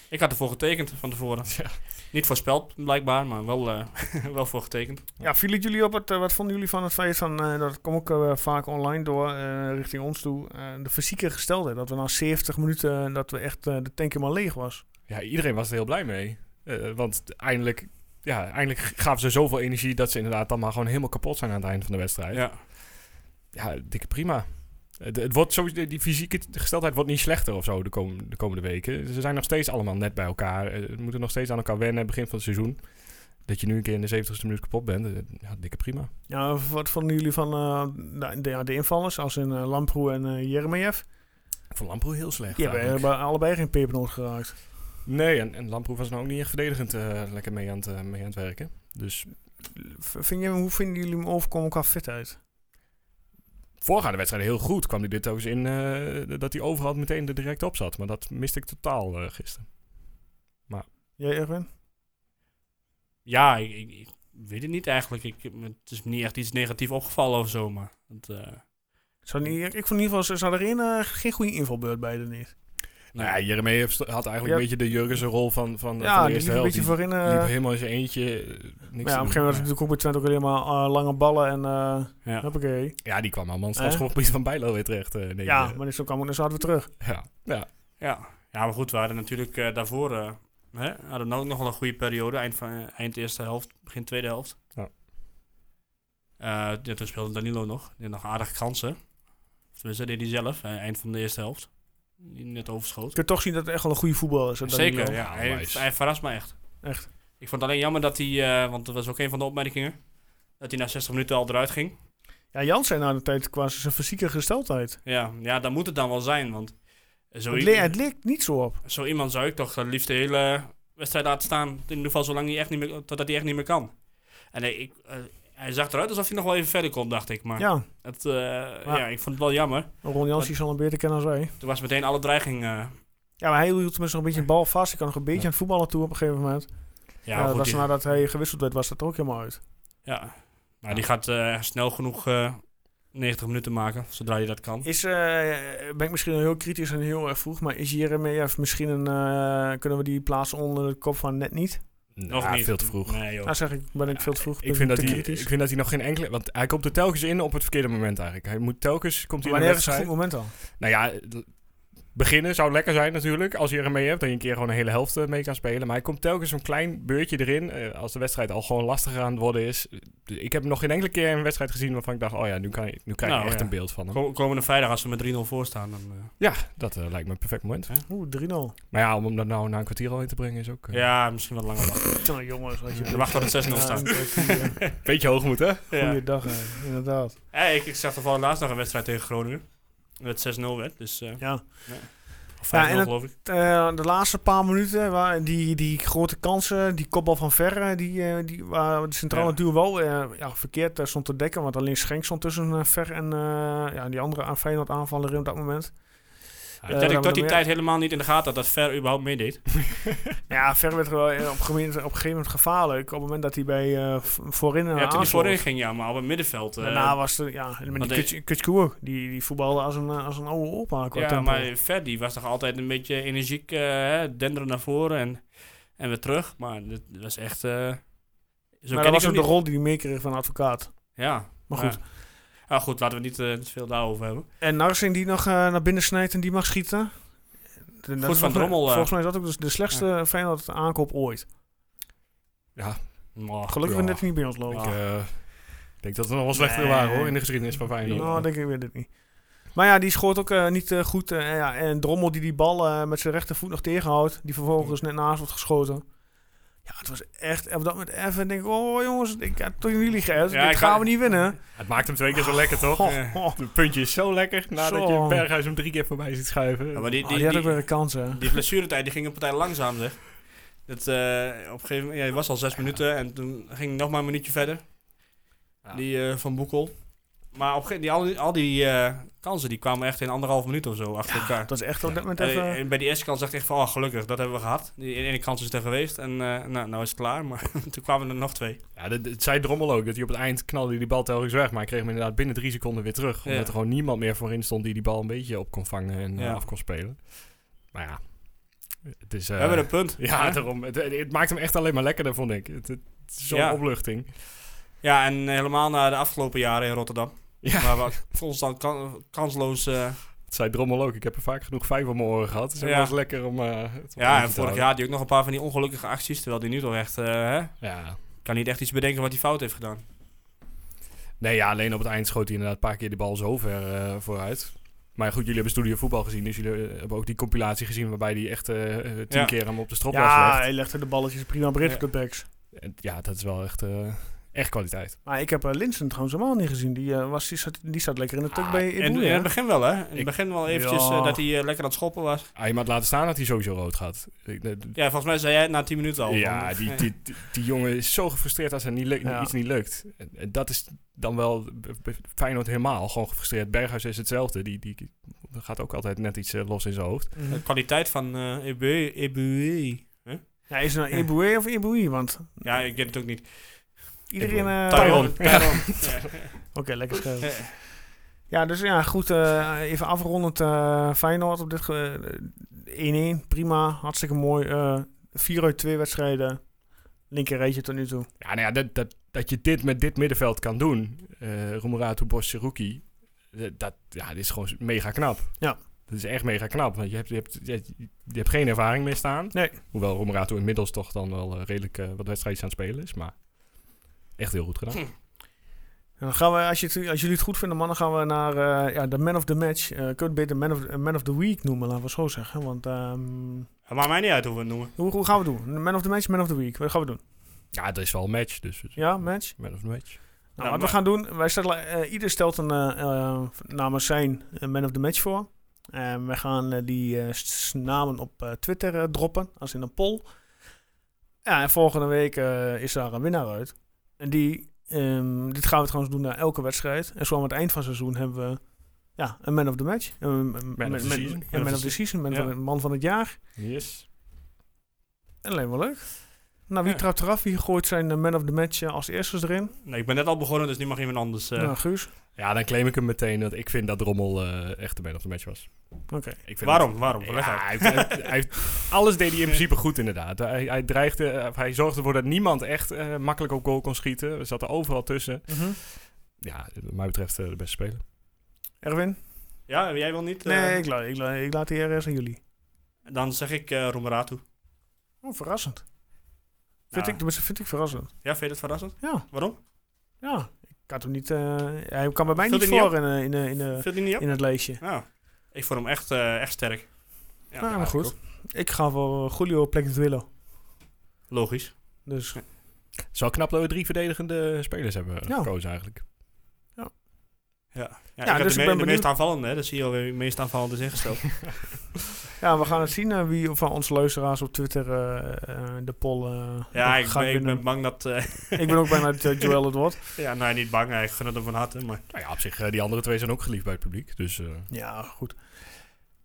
[SPEAKER 3] Ik had ervoor getekend van tevoren.
[SPEAKER 2] Ja.
[SPEAKER 3] Niet voorspeld, blijkbaar, maar wel, eh, wel voor getekend.
[SPEAKER 1] Ja, viel het jullie op? Wat, eh, wat vonden jullie van het feit van, eh, dat komt ook eh, vaak online door, eh, richting ons toe, eh, de fysieke gesteldheid. Dat we na 70 minuten, eh, dat we echt eh, de tank helemaal leeg was.
[SPEAKER 2] Ja, iedereen was er heel blij mee. Eh, want eindelijk, ja, eindelijk gaven ze zoveel energie dat ze inderdaad dan maar gewoon helemaal kapot zijn aan het eind van de wedstrijd. Ja,
[SPEAKER 3] Ja.
[SPEAKER 2] dikke prima. Het, het wordt sowieso, die fysieke gesteldheid wordt niet slechter of zo de, kom- de komende weken. Ze zijn nog steeds allemaal net bij elkaar. Eh, Ze moeten nog steeds aan elkaar wennen, begin van het seizoen. Dat je nu een keer in de 70ste minuut kapot bent, eh, ja, dikke prima.
[SPEAKER 1] Ja, wat vonden jullie van eh, de, de, ja, de invallers, als in eh, Lamproe en eh Jeremejeff?
[SPEAKER 2] Ik vond Lamproe heel slecht.
[SPEAKER 1] Die hebben
[SPEAKER 2] eigenlijk.
[SPEAKER 1] hebben allebei geen pepernoot geraakt.
[SPEAKER 2] Nee, en, en Lamproe was nou ook niet echt verdedigend eh, lekker mee aan, het, eh, mee aan het werken. Dus
[SPEAKER 1] V- Vind je, hoe vinden jullie hem overkomen qua fitheid?
[SPEAKER 2] voorgaande wedstrijden heel goed. Kwam hij dit ook eens in eh, dat hij overal meteen er direct op zat. Maar dat miste ik totaal eh, gisteren.
[SPEAKER 1] Jij, Erwin?
[SPEAKER 3] Ja, ik, ik, ik weet het niet eigenlijk. Ik, het is me niet echt iets negatiefs opgevallen of zo, maar... Het, eh,
[SPEAKER 1] Ze hadden niet- Ik vond in ieder geval, ze- ze hadden er één, eh, geen goede invalbeurt bij, er niet.
[SPEAKER 2] Nou ja, Jeremy heeft- had eigenlijk
[SPEAKER 1] Ja.
[SPEAKER 2] een beetje de Jurgense rol van, van, van
[SPEAKER 1] Ja,
[SPEAKER 2] de
[SPEAKER 1] die
[SPEAKER 2] eerste
[SPEAKER 1] liep een
[SPEAKER 2] helft.
[SPEAKER 1] beetje
[SPEAKER 2] Die
[SPEAKER 1] voorin. eh,
[SPEAKER 2] liep helemaal in zijn eentje. eh, Niks
[SPEAKER 1] Maar ja,
[SPEAKER 2] te
[SPEAKER 1] op een gegeven moment was
[SPEAKER 2] doen.
[SPEAKER 1] het natuurlijk ook bij Twente ook alleen maar eh, lange ballen en eh
[SPEAKER 3] ja.
[SPEAKER 1] hoppakee.
[SPEAKER 2] Ja, die kwam allemaal in het
[SPEAKER 1] Eh?
[SPEAKER 2] strafschopgebied van Bijlo weer terecht. eh, nee,
[SPEAKER 1] Ja,
[SPEAKER 2] eh,
[SPEAKER 1] maar dus dan kwam ook naar weer terug.
[SPEAKER 2] ja. Ja.
[SPEAKER 3] Ja. ja, maar goed, we hadden natuurlijk eh, daarvoor eh, Hè? Hadden ook nog wel een goede periode. Eind, van, eh, eind eerste helft, begin tweede helft.
[SPEAKER 2] Ja.
[SPEAKER 3] Eh, ja, toen speelde Danilo nog. Die had nog aardige kansen. Of Tenminste, deed hij zelf. eh, eind van de eerste helft. Die net overschoot.
[SPEAKER 1] Je kunt toch zien dat het echt wel een goede voetballer is. hè,
[SPEAKER 3] Zeker,
[SPEAKER 1] Danilo.
[SPEAKER 3] ja. Hij,
[SPEAKER 2] Onwijs.
[SPEAKER 3] hij verrast me echt.
[SPEAKER 1] Echt.
[SPEAKER 3] Ik vond het alleen jammer dat hij, eh, want dat was ook een van de opmerkingen, dat hij na 60 minuten al eruit ging.
[SPEAKER 1] Ja, Jans zei na de tijd qua zijn fysieke gesteldheid.
[SPEAKER 3] Ja, ja dan moet het dan wel zijn, want zo,
[SPEAKER 1] Het,
[SPEAKER 3] i-
[SPEAKER 1] le- het leek niet zo op.
[SPEAKER 3] zo iemand zou ik toch het liefst de hele wedstrijd laten staan. In ieder geval zolang hij echt niet meer, totdat hij echt niet meer kan. En hij, ik, eh, hij zag eruit alsof hij nog wel even verder kon, dacht ik. Maar
[SPEAKER 1] Ja,
[SPEAKER 3] het, eh, ja, ik vond het wel jammer.
[SPEAKER 1] Ron Jans die zal hem beter kennen dan wij.
[SPEAKER 3] Toen was meteen alle dreiging... eh,
[SPEAKER 1] Ja, maar hij hield tenminste nog een beetje een bal vast. Hij kan nog een beetje aan het voetballen toe op een gegeven moment.
[SPEAKER 3] ja,
[SPEAKER 1] Ja, dat
[SPEAKER 3] goed,
[SPEAKER 1] was
[SPEAKER 3] die,
[SPEAKER 1] nadat hij gewisseld werd, was dat er ook helemaal uit.
[SPEAKER 3] ja. Maar die gaat eh, snel genoeg eh, 90 minuten maken, zodra hij dat kan.
[SPEAKER 1] Is, eh, ben ik misschien heel kritisch en heel erg vroeg, maar is Jeremia misschien een... eh, kunnen we die plaatsen onder de kop van net niet?
[SPEAKER 3] Nog
[SPEAKER 2] Ja,
[SPEAKER 3] niet.
[SPEAKER 2] veel te vroeg.
[SPEAKER 3] Nee, joh.
[SPEAKER 1] Nou zeg ik, ben ik veel te vroeg. ben
[SPEAKER 2] Ik vind, dat
[SPEAKER 1] te
[SPEAKER 2] hij,
[SPEAKER 1] kritisch.
[SPEAKER 2] ik vind dat hij nog geen enkele... Want hij komt er telkens in op het verkeerde moment eigenlijk. Hij moet telkens... Komt hij in de
[SPEAKER 1] Wanneer is het een
[SPEAKER 2] wedstrijd...
[SPEAKER 1] goed moment al?
[SPEAKER 2] Nou ja, l- beginnen zou lekker zijn natuurlijk. Als je er mee hebt, dat je een keer gewoon een hele helft eh, mee kan spelen. Maar hij komt telkens een klein beurtje erin. eh, als de wedstrijd al gewoon lastiger aan het worden is. Ik heb nog geen enkele keer een wedstrijd gezien waarvan ik dacht... Oh ja, nu, kan, ik- nu krijg
[SPEAKER 3] Nou,
[SPEAKER 2] ik echt
[SPEAKER 3] ja.
[SPEAKER 2] een beeld van hem.
[SPEAKER 3] Kom- Komende vrijdag, als we met 3-0 voor staan, dan... eh,
[SPEAKER 2] Ja, dat eh, lijkt me een perfect moment.
[SPEAKER 1] Oeh, 3-0.
[SPEAKER 2] Maar ja, om hem dat nou na een kwartier al in te brengen is ook... eh,
[SPEAKER 3] Ja, misschien wat langer wachten.
[SPEAKER 1] Tjonge jongens, wat je...
[SPEAKER 3] We wachten tot het 6-0 staat.
[SPEAKER 2] een beetje hoog moet, hè?
[SPEAKER 3] Ja.
[SPEAKER 1] Goeiedag, hè, inderdaad.
[SPEAKER 3] Ja, ik, ik zag toevallig laatst nog een wedstrijd tegen Groningen. Dat het 6-0 werd, dus eh
[SPEAKER 1] Ja.
[SPEAKER 3] of 5-0
[SPEAKER 1] Ja, en dat-
[SPEAKER 3] geloof ik.
[SPEAKER 1] Eh, de laatste paar minuten, waar, die, die grote kansen, die kopbal van Verre, die, eh, die, waar de centrale
[SPEAKER 3] Ja.
[SPEAKER 1] duo eh, ja, verkeerd eh, stond te dekken. Want alleen Schenk stond tussen eh, Verre en eh, ja, die andere aan- Feyenoord aanvaller in op dat moment.
[SPEAKER 3] Dat
[SPEAKER 1] Eh, dan
[SPEAKER 3] ik
[SPEAKER 1] hebben
[SPEAKER 3] tot
[SPEAKER 1] we
[SPEAKER 3] die
[SPEAKER 1] nog
[SPEAKER 3] tijd helemaal niet in de gaten had dat Ver überhaupt meedeed.
[SPEAKER 1] Ja, Verre werd er wel, eh, op, een gegeven moment- op een gegeven moment gevaarlijk. Op het moment dat hij bij eh, v- voorin
[SPEAKER 3] Ja,
[SPEAKER 1] uh,
[SPEAKER 3] toen die voorin ging, ja, maar op het middenveld. eh,
[SPEAKER 1] Daarna was er, ja, nou, met
[SPEAKER 3] want
[SPEAKER 1] die Kutsch- Kutschkoe ook. Die, die voetbalde als een, eh, als een oude opa qua
[SPEAKER 3] ja,
[SPEAKER 1] tempo.
[SPEAKER 3] maar Ver die was toch altijd een beetje energiek, eh, hè, denderen naar voren en, en weer terug. Maar dat was echt... eh, zo
[SPEAKER 1] Maar
[SPEAKER 3] ken
[SPEAKER 1] dat was
[SPEAKER 3] ik
[SPEAKER 1] ook
[SPEAKER 3] hem
[SPEAKER 1] de
[SPEAKER 3] niet.
[SPEAKER 1] rol die hij meekreeg van advocaat.
[SPEAKER 3] Ja,
[SPEAKER 1] Maar goed.
[SPEAKER 3] Ja. Nou goed, laten we niet eh, te veel daarover hebben.
[SPEAKER 1] En Narsing die nog eh, naar binnen snijdt en die mag schieten. Dat is volgens mij-
[SPEAKER 3] Drommel, eh.
[SPEAKER 1] Volgens mij is dat ook dus de slechtste Feyenoord aankoop ooit.
[SPEAKER 3] Maar
[SPEAKER 1] Gelukkig
[SPEAKER 2] Ja.
[SPEAKER 1] we net niet bij ons lopen.
[SPEAKER 2] Ik eh, denk dat we nog wel slechter
[SPEAKER 1] Nee.
[SPEAKER 2] waren, hoor, in de geschiedenis van
[SPEAKER 3] Ah,
[SPEAKER 2] Feyenoord.
[SPEAKER 1] Nou, denk ik weer dit niet. Maar ja, die schoot ook eh, niet eh, goed. eh, ja, en Drommel die die bal eh, met zijn rechtervoet nog tegenhoudt. Die vervolgens net naast wordt geschoten. Ja, het was echt... Op dat moment even denk ik... Oh jongens, ik heb tot jullie geërfd.
[SPEAKER 3] Ja,
[SPEAKER 1] dit
[SPEAKER 3] ik ga-
[SPEAKER 1] gaan we niet winnen.
[SPEAKER 2] Het maakt hem twee keer zo lekker, toch?
[SPEAKER 1] Oh,
[SPEAKER 2] Eh,
[SPEAKER 1] oh. Oh,
[SPEAKER 2] Het puntje is zo lekker, nadat
[SPEAKER 1] Zo.
[SPEAKER 2] je Berghuis hem drie keer voorbij ziet schuiven.
[SPEAKER 3] Ja, maar die, die,
[SPEAKER 1] Oh, Ah, die had
[SPEAKER 3] die-
[SPEAKER 1] ook weer een kans, hè.
[SPEAKER 3] Die blessuretijd die ging een partij langzaam, zeg. Dat, eh, op een gegeven moment, ja, het was al zes minuten en toen ging het nog maar een minuutje verder.
[SPEAKER 2] Ja.
[SPEAKER 3] Die eh, van Boekel. Maar op een gegeven moment, die, al die, al die eh, kansen die kwamen echt in anderhalf minuut of zo achter elkaar.
[SPEAKER 1] Dat is echt op dat moment
[SPEAKER 3] En,
[SPEAKER 1] even...
[SPEAKER 3] en bij die eerste kans dacht ik echt van, oh gelukkig, dat hebben we gehad. Die ene kans is er geweest en eh, nou, nou is het klaar. Maar toen kwamen er nog twee.
[SPEAKER 2] Ja, dat, dat zei Drommel ook, dat hij op het eind knalde hij die bal telkens weg. Maar hij kreeg hem inderdaad binnen drie seconden weer terug. Omdat
[SPEAKER 3] Ja.
[SPEAKER 2] er gewoon niemand meer voorin stond die die bal een beetje op kon vangen en eh,
[SPEAKER 3] Ja.
[SPEAKER 2] af kon spelen. Maar ja, het is... eh,
[SPEAKER 3] we hebben een punt.
[SPEAKER 2] ja,
[SPEAKER 3] Hè?
[SPEAKER 2] daarom. Het, het- het maakt hem echt alleen maar lekkerder, vond ik. Het, het, het is zo'n
[SPEAKER 3] Ja.
[SPEAKER 2] opluchting.
[SPEAKER 3] ja, en helemaal na de afgelopen jaren in Rotterdam.
[SPEAKER 2] Ja.
[SPEAKER 3] Waar we constant kan- kansloos... eh,
[SPEAKER 2] Dat zei Drommel ook. Ik heb er vaak genoeg vijf om mijn oren gehad. Dus het
[SPEAKER 3] Ja.
[SPEAKER 2] was lekker om... eh, het om
[SPEAKER 3] ja,
[SPEAKER 2] te
[SPEAKER 3] en vorig
[SPEAKER 2] houden.
[SPEAKER 3] jaar had hij ook nog een paar van die ongelukkige acties. Terwijl hij nu toch echt... eh, hè,
[SPEAKER 2] Ja.
[SPEAKER 3] kan niet echt iets bedenken wat hij fout heeft gedaan.
[SPEAKER 2] Nee, ja, alleen op het eind schoot hij inderdaad een paar keer de bal zo ver eh, vooruit. Maar goed, jullie hebben Studio Voetbal gezien. Dus jullie eh, hebben ook die compilatie gezien waarbij hij echt eh, eh, tien
[SPEAKER 3] Ja.
[SPEAKER 2] keer hem op de strop was
[SPEAKER 1] Ja, hij legde de balletjes prima breed op de backs.
[SPEAKER 2] En Ja, dat is wel echt, eh, echt kwaliteit.
[SPEAKER 1] Maar ik heb eh, Linsen trouwens helemaal niet gezien. Die, eh, was, die, zat, die zat lekker in de tuk
[SPEAKER 2] Ah,
[SPEAKER 1] bij
[SPEAKER 3] In, in
[SPEAKER 1] Ibu,
[SPEAKER 3] het begin wel, hè? In het
[SPEAKER 2] Ik-
[SPEAKER 3] begin wel eventjes
[SPEAKER 1] Ja.
[SPEAKER 3] eh, dat hij eh, lekker aan het schoppen was.
[SPEAKER 2] Hij had laten staan dat hij sowieso rood gaat. Ik- eh, d-
[SPEAKER 3] Ja, volgens mij zei jij het na 10 minuten al.
[SPEAKER 2] ja,
[SPEAKER 3] van- eh,
[SPEAKER 2] die, die, die, die jongen is zo gefrustreerd als er niet luk-
[SPEAKER 1] Ja.
[SPEAKER 2] iets niet lukt. En- en Dat is dan wel b- b- Feyenoord helemaal gewoon gefrustreerd. Berghuis is hetzelfde. Die, die, die gaat ook altijd net iets eh, los in zijn hoofd.
[SPEAKER 3] De kwaliteit van eh Ebu- Ebu-
[SPEAKER 1] Ja, is het nou Ibue of Ibui? Want
[SPEAKER 3] Ja, ik weet het ook niet.
[SPEAKER 1] iedereen...
[SPEAKER 2] Ibue.
[SPEAKER 1] eh,
[SPEAKER 3] Tyron. Tyron.
[SPEAKER 1] Oké, lekker scherp.
[SPEAKER 3] Ja.
[SPEAKER 1] Ja, dus ja, goed. eh, even afrondend eh, Feyenoord op dit... ge- eh, 1-1, prima. Hartstikke mooi. eh 4 uit 2 wedstrijden. Linker rijtje tot nu toe.
[SPEAKER 2] Ja, nou ja, dat, dat, dat je dit met dit middenveld kan doen, eh Roemerato, Bos, Seruki, eh, dat, ja, dit is gewoon mega knap.
[SPEAKER 1] Ja.
[SPEAKER 2] Dat is echt mega knap. Want je hebt, je hebt, je hebt, je hebt geen ervaring meer staan.
[SPEAKER 1] Nee.
[SPEAKER 2] Hoewel Romerato inmiddels toch dan wel eh, redelijk eh, wat wedstrijdjes aan het spelen is. Maar echt heel goed gedaan.
[SPEAKER 1] Hm. En Dan gaan we, als, je het- als jullie het goed vinden, mannen, gaan we naar eh, ja, de man of the match. Eh kun je het beter man of, man of the week noemen, laten we het zo zeggen. Want ehm,
[SPEAKER 3] Het maakt mij niet uit hoe we het noemen.
[SPEAKER 1] hoe, hoe gaan we het doen? Man of the match, man of the week. Wat gaan we doen?
[SPEAKER 2] Ja, dat is wel een match. Dus dus-
[SPEAKER 1] Ja, match?
[SPEAKER 2] man of the match.
[SPEAKER 1] Nou,
[SPEAKER 3] Ja,
[SPEAKER 1] wat
[SPEAKER 3] maar-
[SPEAKER 1] we gaan doen, wij stellen, eh, ieder stelt een, eh, eh, namens zijn eh, man of the match voor. En we gaan eh, die eh, s- namen op eh, Twitter eh, droppen, als in een poll. Ja, en volgende week eh, is daar een winnaar uit. En die, ehm, dit gaan we trouwens doen na elke wedstrijd. En zo aan het eind van het seizoen hebben we ja, een man of the match. Een, een-
[SPEAKER 2] Man of the
[SPEAKER 1] een-
[SPEAKER 2] season.
[SPEAKER 1] een man of the season, man,
[SPEAKER 3] Ja.
[SPEAKER 1] van, het- man van het jaar.
[SPEAKER 2] Yes.
[SPEAKER 1] En alleen wel leuk. Nou, wie
[SPEAKER 3] Ja.
[SPEAKER 1] trapt eraf? Wie gooit zijn eh, man of the match eh, als eerste erin?
[SPEAKER 3] Nee, ik ben net al begonnen, dus nu mag iemand anders. eh.
[SPEAKER 1] Nou, Guus.
[SPEAKER 2] Ja, dan claim ik hem meteen. Want ik vind dat Drommel eh, echt de man of the match was.
[SPEAKER 1] Oké.
[SPEAKER 2] Ik vind
[SPEAKER 3] Waarom? Waarom?
[SPEAKER 2] Ja,
[SPEAKER 3] Leg uit.
[SPEAKER 2] hij, heeft- hij heeft- hij heeft- alles deed hij in principe goed, inderdaad. Hij, hij, dreigde, eh, of hij zorgde ervoor dat niemand echt eh, makkelijk op goal kon schieten. We zaten overal tussen.
[SPEAKER 3] Mhm.
[SPEAKER 2] Ja, wat mij betreft eh, de beste speler.
[SPEAKER 1] Erwin?
[SPEAKER 3] Ja, jij wil niet? eh,
[SPEAKER 1] Nee, ik, la ik, la ik laat die RS aan jullie.
[SPEAKER 3] Dan zeg ik eh Romeratu.
[SPEAKER 1] Oh, verrassend. Vind,
[SPEAKER 3] Ja.
[SPEAKER 1] ik, tenminste, vind ik verrassend.
[SPEAKER 3] Nou, Ja, vind je dat verrassend?
[SPEAKER 1] Ja,
[SPEAKER 3] Waarom?
[SPEAKER 1] ja. Ik had hem niet... eh, hij kwam bij mij
[SPEAKER 3] Vult
[SPEAKER 1] niet
[SPEAKER 3] hij niet
[SPEAKER 1] voor in, eh, in, eh, in, eh,
[SPEAKER 3] Viel die niet op?
[SPEAKER 1] in het lijstje.
[SPEAKER 3] Nou, ik vond hem echt, eh, echt sterk. Ja,
[SPEAKER 1] nou,
[SPEAKER 3] ja,
[SPEAKER 1] maar goed. Ik ga eh, voor Julio Plekentwillo.
[SPEAKER 3] Logisch.
[SPEAKER 1] Dus
[SPEAKER 2] Het is wel knap dat we drie verdedigende spelers hebben
[SPEAKER 1] Ja.
[SPEAKER 3] Nou.
[SPEAKER 2] gekozen eigenlijk.
[SPEAKER 3] Ja, ja,
[SPEAKER 1] dus
[SPEAKER 3] ik had
[SPEAKER 1] ik
[SPEAKER 3] de, me-
[SPEAKER 1] ben
[SPEAKER 3] de
[SPEAKER 1] benieuwd.
[SPEAKER 3] meest aanvallende, hè. De CEO de meest aanvallende is ingesteld.
[SPEAKER 1] ja, we gaan het zien eh, wie van onze luisteraars op Twitter eh, eh, de poll eh,
[SPEAKER 3] ja, ik,
[SPEAKER 1] gaat
[SPEAKER 3] ben, ik
[SPEAKER 1] winnen.
[SPEAKER 3] ben bang dat... eh,
[SPEAKER 1] ik ben ook bijna dat eh, Joel het wordt.
[SPEAKER 3] ja, nou, niet bang. Ik gun het hem van harte, maar...
[SPEAKER 2] Nou ja, op zich, eh, die andere twee zijn ook geliefd bij het publiek. Dus eh,
[SPEAKER 1] Ja, goed.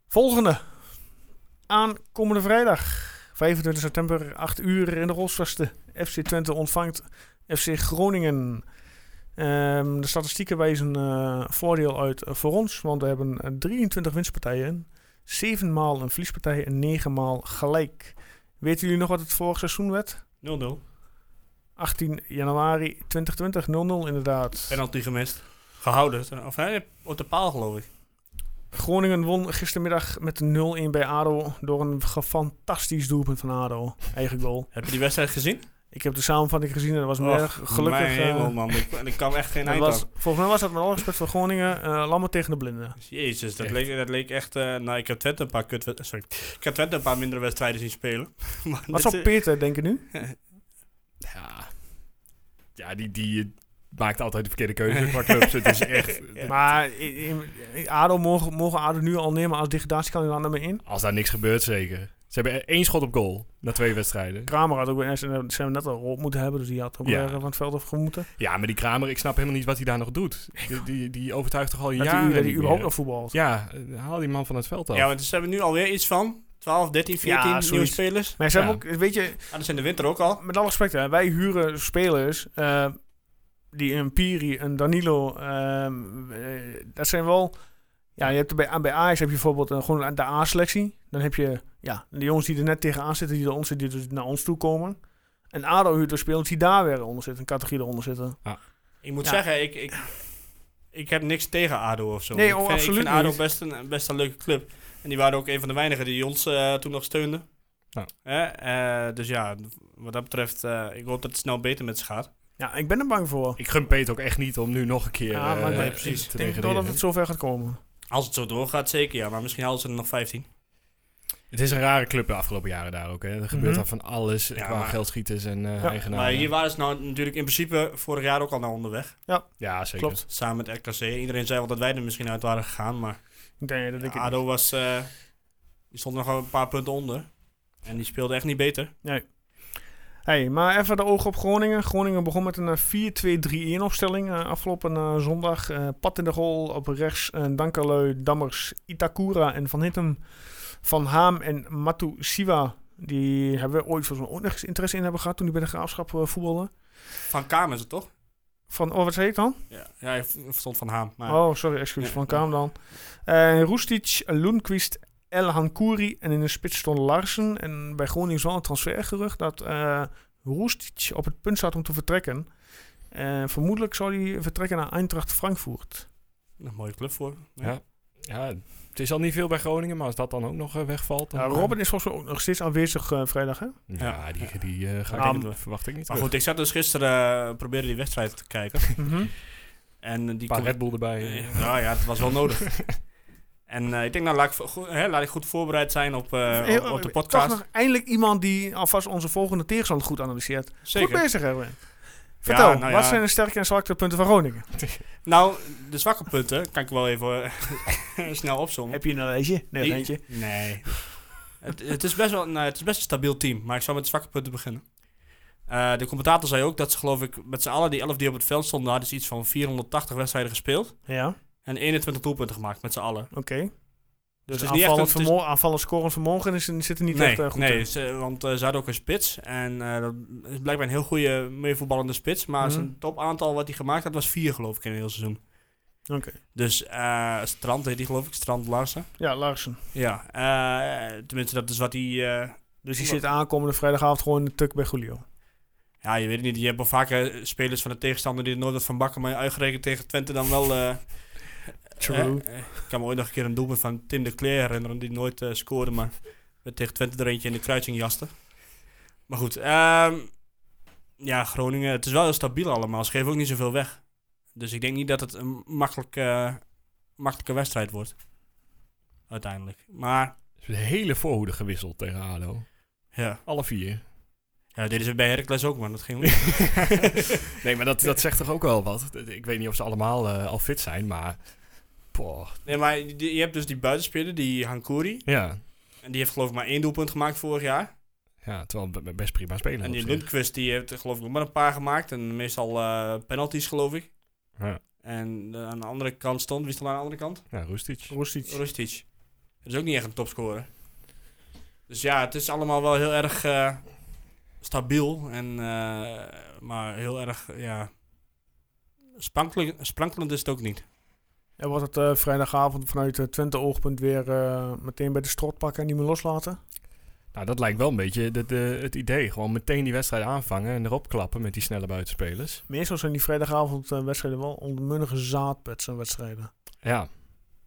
[SPEAKER 1] Volgende. Aankomende vrijdag, 25 september, 8 uur in de Rosvaste. FC Twente ontvangt FC Groningen. Ehm, de statistieken wijzen eh, voordeel uit eh, voor ons, want we hebben eh, 23 winstpartijen, 7 maal een verliespartij en 9 maal gelijk. Weten jullie nog wat het vorig seizoen werd?
[SPEAKER 3] 0-0.
[SPEAKER 1] 18 januari 2020, 0-0 inderdaad.
[SPEAKER 3] Penalty gemist. Gehouden. Of nee, op de paal, geloof ik.
[SPEAKER 1] Groningen won gistermiddag met 0-1 bij ADO door een ge- fantastisch doelpunt van ADO. Eigen goal.
[SPEAKER 3] Heb je die wedstrijd gezien?
[SPEAKER 1] Ik heb de samenvatting gezien en dat was me
[SPEAKER 3] Och,
[SPEAKER 1] erg gelukkig.
[SPEAKER 3] Mijn
[SPEAKER 1] eh,
[SPEAKER 3] hemel, man. Ik, ik kan echt geen
[SPEAKER 1] dat
[SPEAKER 3] eind
[SPEAKER 1] was,
[SPEAKER 3] aan.
[SPEAKER 1] volgens mij was dat met alle respect voor Groningen eh lammer tegen de blinden.
[SPEAKER 3] Jezus, dat
[SPEAKER 2] Echt.
[SPEAKER 3] leek, dat leek echt... eh, nou, ik heb Twente een paar kut... Sorry. Ik heb Twente een paar mindere wedstrijden zien spelen. Maar
[SPEAKER 1] Wat
[SPEAKER 3] dit,
[SPEAKER 1] zou
[SPEAKER 3] eh,
[SPEAKER 1] Peter denken nu?
[SPEAKER 2] ja, ja die, die eh, maakt altijd de verkeerde keuze qua clubs. Het is echt...
[SPEAKER 1] Maar i- i- i- ADO mogen, mogen ADO nu al nemen als degradatiekandidaat nummer 1?
[SPEAKER 2] Als daar niks gebeurt, zeker. Ze hebben e- één schot op goal na twee wedstrijden.
[SPEAKER 1] Kramer had ook weer zijn we net al op moeten hebben, dus die had ook
[SPEAKER 2] Ja.
[SPEAKER 1] weer eh, van het veld af moeten.
[SPEAKER 2] Ja, maar die Kramer, ik snap helemaal niet wat hij daar nog doet. Die, die, die overtuigt toch
[SPEAKER 1] Dat
[SPEAKER 2] al jaren
[SPEAKER 1] hij dat hij
[SPEAKER 2] niet
[SPEAKER 1] überhaupt
[SPEAKER 2] meer.
[SPEAKER 1] nog voetbalt.
[SPEAKER 2] Ja, eh, haal die man van het veld af.
[SPEAKER 3] Ja, want ze hebben nu alweer iets van 12, 13, 14
[SPEAKER 1] Ja,
[SPEAKER 3] nieuwe
[SPEAKER 1] zoiets.
[SPEAKER 3] spelers.
[SPEAKER 1] Maar ze
[SPEAKER 2] Ja.
[SPEAKER 1] hebben ook, weet je,
[SPEAKER 3] Ah, dat is in de winter ook al.
[SPEAKER 1] met alle respect, hè, wij huren spelers eh, die een Piri, een Danilo, ehm, eh, dat zijn wel. Ja, je hebt er bij, aan- bij Ajax heb je bijvoorbeeld eh, gewoon de A-selectie. Dan heb je ja, de jongens die er net tegenaan zitten, die, er ons, die dus naar ons toe komen. En ADO huurt de spelers die daar weer onder zitten, een categorie eronder zitten.
[SPEAKER 3] Ik moet
[SPEAKER 1] Ja.
[SPEAKER 3] zeggen, ik, ik, ik heb niks tegen ADO of zo.
[SPEAKER 1] Nee,
[SPEAKER 3] ik
[SPEAKER 1] oh,
[SPEAKER 3] vind,
[SPEAKER 1] absoluut
[SPEAKER 3] Ik vind ADO
[SPEAKER 1] niet.
[SPEAKER 3] best een, best een leuke club. En die waren ook een van de weinigen die ons eh, toen nog steunden.
[SPEAKER 2] Ja.
[SPEAKER 3] Eh, eh, dus ja, wat dat betreft, eh, ik hoop dat het snel beter met ze gaat.
[SPEAKER 1] Ja, ik ben er bang voor.
[SPEAKER 2] Ik gun Peet ook echt niet om nu nog een keer
[SPEAKER 1] Ja, Ah, maar
[SPEAKER 2] eh,
[SPEAKER 1] nee,
[SPEAKER 3] precies.
[SPEAKER 2] te
[SPEAKER 1] Ik denk wel
[SPEAKER 2] degraderen.
[SPEAKER 1] dat het zover gaat komen.
[SPEAKER 3] Als het zo doorgaat, zeker ja. Maar misschien halen ze er nog 15.
[SPEAKER 2] Het is een rare club de afgelopen jaren daar ook. Hè. Er gebeurt
[SPEAKER 1] Mhm.
[SPEAKER 2] daar van alles eh,
[SPEAKER 3] Ja,
[SPEAKER 2] qua
[SPEAKER 3] maar-
[SPEAKER 2] geldschieters en eh
[SPEAKER 1] Ja,
[SPEAKER 2] eigenaren.
[SPEAKER 3] Maar hier waren ze nou natuurlijk in principe vorig jaar ook al naar onderweg.
[SPEAKER 2] ja, zeker.
[SPEAKER 1] Klopt.
[SPEAKER 3] Samen met RKC. Iedereen zei wel dat wij er misschien uit waren gegaan. Maar
[SPEAKER 1] Ik denk dat ik het
[SPEAKER 3] ADO was, eh, die stond nog wel een paar punten onder. En die speelde echt niet beter.
[SPEAKER 1] Hey, maar even de ogen op Groningen. Groningen begon met een eh, 4-2-3-1 opstelling eh, afgelopen eh, zondag. Eh, Pat in de goal, op rechts eh, Dankerleu, Dammers, Itakura en Van Hittem, Van Haam en Matu Siwa. Die hebben we ooit volgens mij ook nog eens interesse in hebben gehad toen die bij de Graafschap eh, voetbalden.
[SPEAKER 3] Van Kaam is het toch?
[SPEAKER 1] Van, oh, wat zei ik dan?
[SPEAKER 3] Ja, ja hij v- stond van Haam. Maar
[SPEAKER 1] Oh, sorry, excuus,
[SPEAKER 3] Ah. Ja.
[SPEAKER 1] Van Kaam dan. Eh Roestic, Lundqvist, El Hankouri en in de spits stond Larsen. En bij Groningen is wel een transfergerucht dat eh Roestic op het punt staat om te vertrekken. Eh, vermoedelijk zou hij vertrekken naar Eintracht Frankfurt.
[SPEAKER 3] een mooie club voor.
[SPEAKER 2] Ja. Ja, Het is al niet veel bij Groningen, maar als dat dan ook nog eh, wegvalt...
[SPEAKER 3] Oh,
[SPEAKER 2] Dan,
[SPEAKER 1] Ja, Robin is volgens mij ook nog steeds aanwezig eh, vrijdag, hè?
[SPEAKER 2] Ja, die, die eh, ga ik
[SPEAKER 1] Ja,
[SPEAKER 2] niet-
[SPEAKER 3] maar-
[SPEAKER 2] verwacht ik niet
[SPEAKER 3] Maar
[SPEAKER 2] terug.
[SPEAKER 3] goed, ik zat dus gisteren, eh, probeerde die wedstrijd te kijken.
[SPEAKER 1] Mhm.
[SPEAKER 3] En eh, die
[SPEAKER 2] Een paar
[SPEAKER 3] kon-
[SPEAKER 2] Red Bull erbij. eh.
[SPEAKER 3] Eh, Nou ja, het was wel nodig. En eh, ik denk, nou, laat ik, vo- goed, hè, laat ik goed voorbereid zijn op, eh,
[SPEAKER 1] Heel-
[SPEAKER 3] op, op de
[SPEAKER 1] toch
[SPEAKER 3] podcast.
[SPEAKER 1] nog eindelijk iemand die alvast onze volgende tegenstander goed analyseert. Goed bezig, Erwin. Vertel,
[SPEAKER 3] nou ja.
[SPEAKER 1] wat zijn de sterke en zwakte punten van Groningen?
[SPEAKER 3] Nou, de zwakke punten kan ik wel even eh, snel opzommen.
[SPEAKER 1] je een lijstje? Nee,
[SPEAKER 3] Die- Nee. het, het, is best wel, nou, het is best een stabiel team, maar ik zal met de zwakke punten beginnen. Eh, de commentator zei ook dat ze, geloof ik, met z'n allen die 11 die op het veld stonden, hadden ze iets van 480 wedstrijden gespeeld.
[SPEAKER 1] Ja, oké.
[SPEAKER 3] En 21 doelpunten gemaakt met z'n allen.
[SPEAKER 1] Oh, Dus
[SPEAKER 3] het is niet
[SPEAKER 1] aanvallend,
[SPEAKER 3] echt een- het is-
[SPEAKER 1] vermogen, aanvallend scorend vermogen is, zit er niet
[SPEAKER 3] nee,
[SPEAKER 1] echt eh, goed
[SPEAKER 3] nee
[SPEAKER 1] in.
[SPEAKER 3] ze- want eh, ze hadden ook een spits. En eh, dat is blijkbaar een heel goede meevoetballende spits. Maar
[SPEAKER 1] Mhm.
[SPEAKER 3] zijn topaantal wat hij gemaakt had was vier, geloof ik, in een heel seizoen.
[SPEAKER 1] Oké.
[SPEAKER 3] Dus eh, Strand heet die, geloof ik. Strand Larsen.
[SPEAKER 1] Ja, Larsen.
[SPEAKER 3] Ja, eh, tenminste, dat is wat hij... eh,
[SPEAKER 1] Dus die
[SPEAKER 3] Wat-
[SPEAKER 1] zit aankomende vrijdagavond gewoon in de tuk bij Julio.
[SPEAKER 3] ja, je weet het niet. Je hebt wel vaker eh, spelers van de tegenstander die er nooit wat van bakken. Maar uitgerekend tegen Twente dan wel... eh,
[SPEAKER 1] True.
[SPEAKER 3] eh, eh, ik kan me ooit nog een keer een doelpunt van Tim de Cler herinneren. Die nooit eh, scoorde, maar werd tegen Twente er eentje in de kruising jaste. Maar goed, ehm, ja, Groningen. Het is wel heel stabiel allemaal. Ze geven ook niet zoveel weg. Dus ik denk niet dat het een makkelijke, makkelijke wedstrijd wordt. Uiteindelijk. Maar
[SPEAKER 2] Dus de hele voorhoede gewisseld tegen ADO.
[SPEAKER 3] ja,
[SPEAKER 2] Alle vier.
[SPEAKER 3] ja dit is bij Heracles ook, man. Dat ging ook.
[SPEAKER 2] nee, maar dat, dat zegt toch ook wel wat. Ik weet niet of ze allemaal eh, al fit zijn, maar... Poh,
[SPEAKER 3] Nee, maar je je hebt dus die buitenspeler, die Hankouri.
[SPEAKER 2] ja.
[SPEAKER 3] En die heeft geloof ik maar één doelpunt gemaakt vorig jaar.
[SPEAKER 2] ja, terwijl we best prima spelen.
[SPEAKER 3] En die
[SPEAKER 2] op zich.
[SPEAKER 3] Lundqvist die heeft er geloof ik ook maar een paar gemaakt. En meestal eh, penalties geloof ik.
[SPEAKER 2] Ja.
[SPEAKER 3] En eh, aan de andere kant stond, wie stond aan de andere kant?
[SPEAKER 2] Ja, Rustic.
[SPEAKER 1] Rustic.
[SPEAKER 3] Rustic. Dat is ook niet echt een topscorer. Dus ja, het is allemaal wel heel erg eh, stabiel. En, eh, maar heel erg, ja... Sprankelen, sprankelend is het ook niet.
[SPEAKER 1] En wordt het eh, vrijdagavond vanuit het Twente-oogpunt weer eh, meteen bij de strot pakken en niet meer loslaten?
[SPEAKER 2] Nou, dat lijkt wel een beetje de, de, het idee. Gewoon meteen die wedstrijd aanvangen en erop klappen met die snelle buitenspelers.
[SPEAKER 1] Meestal zijn die vrijdagavond eh, wedstrijden wel onmunnige zaadbeds en wedstrijden.
[SPEAKER 2] Ja,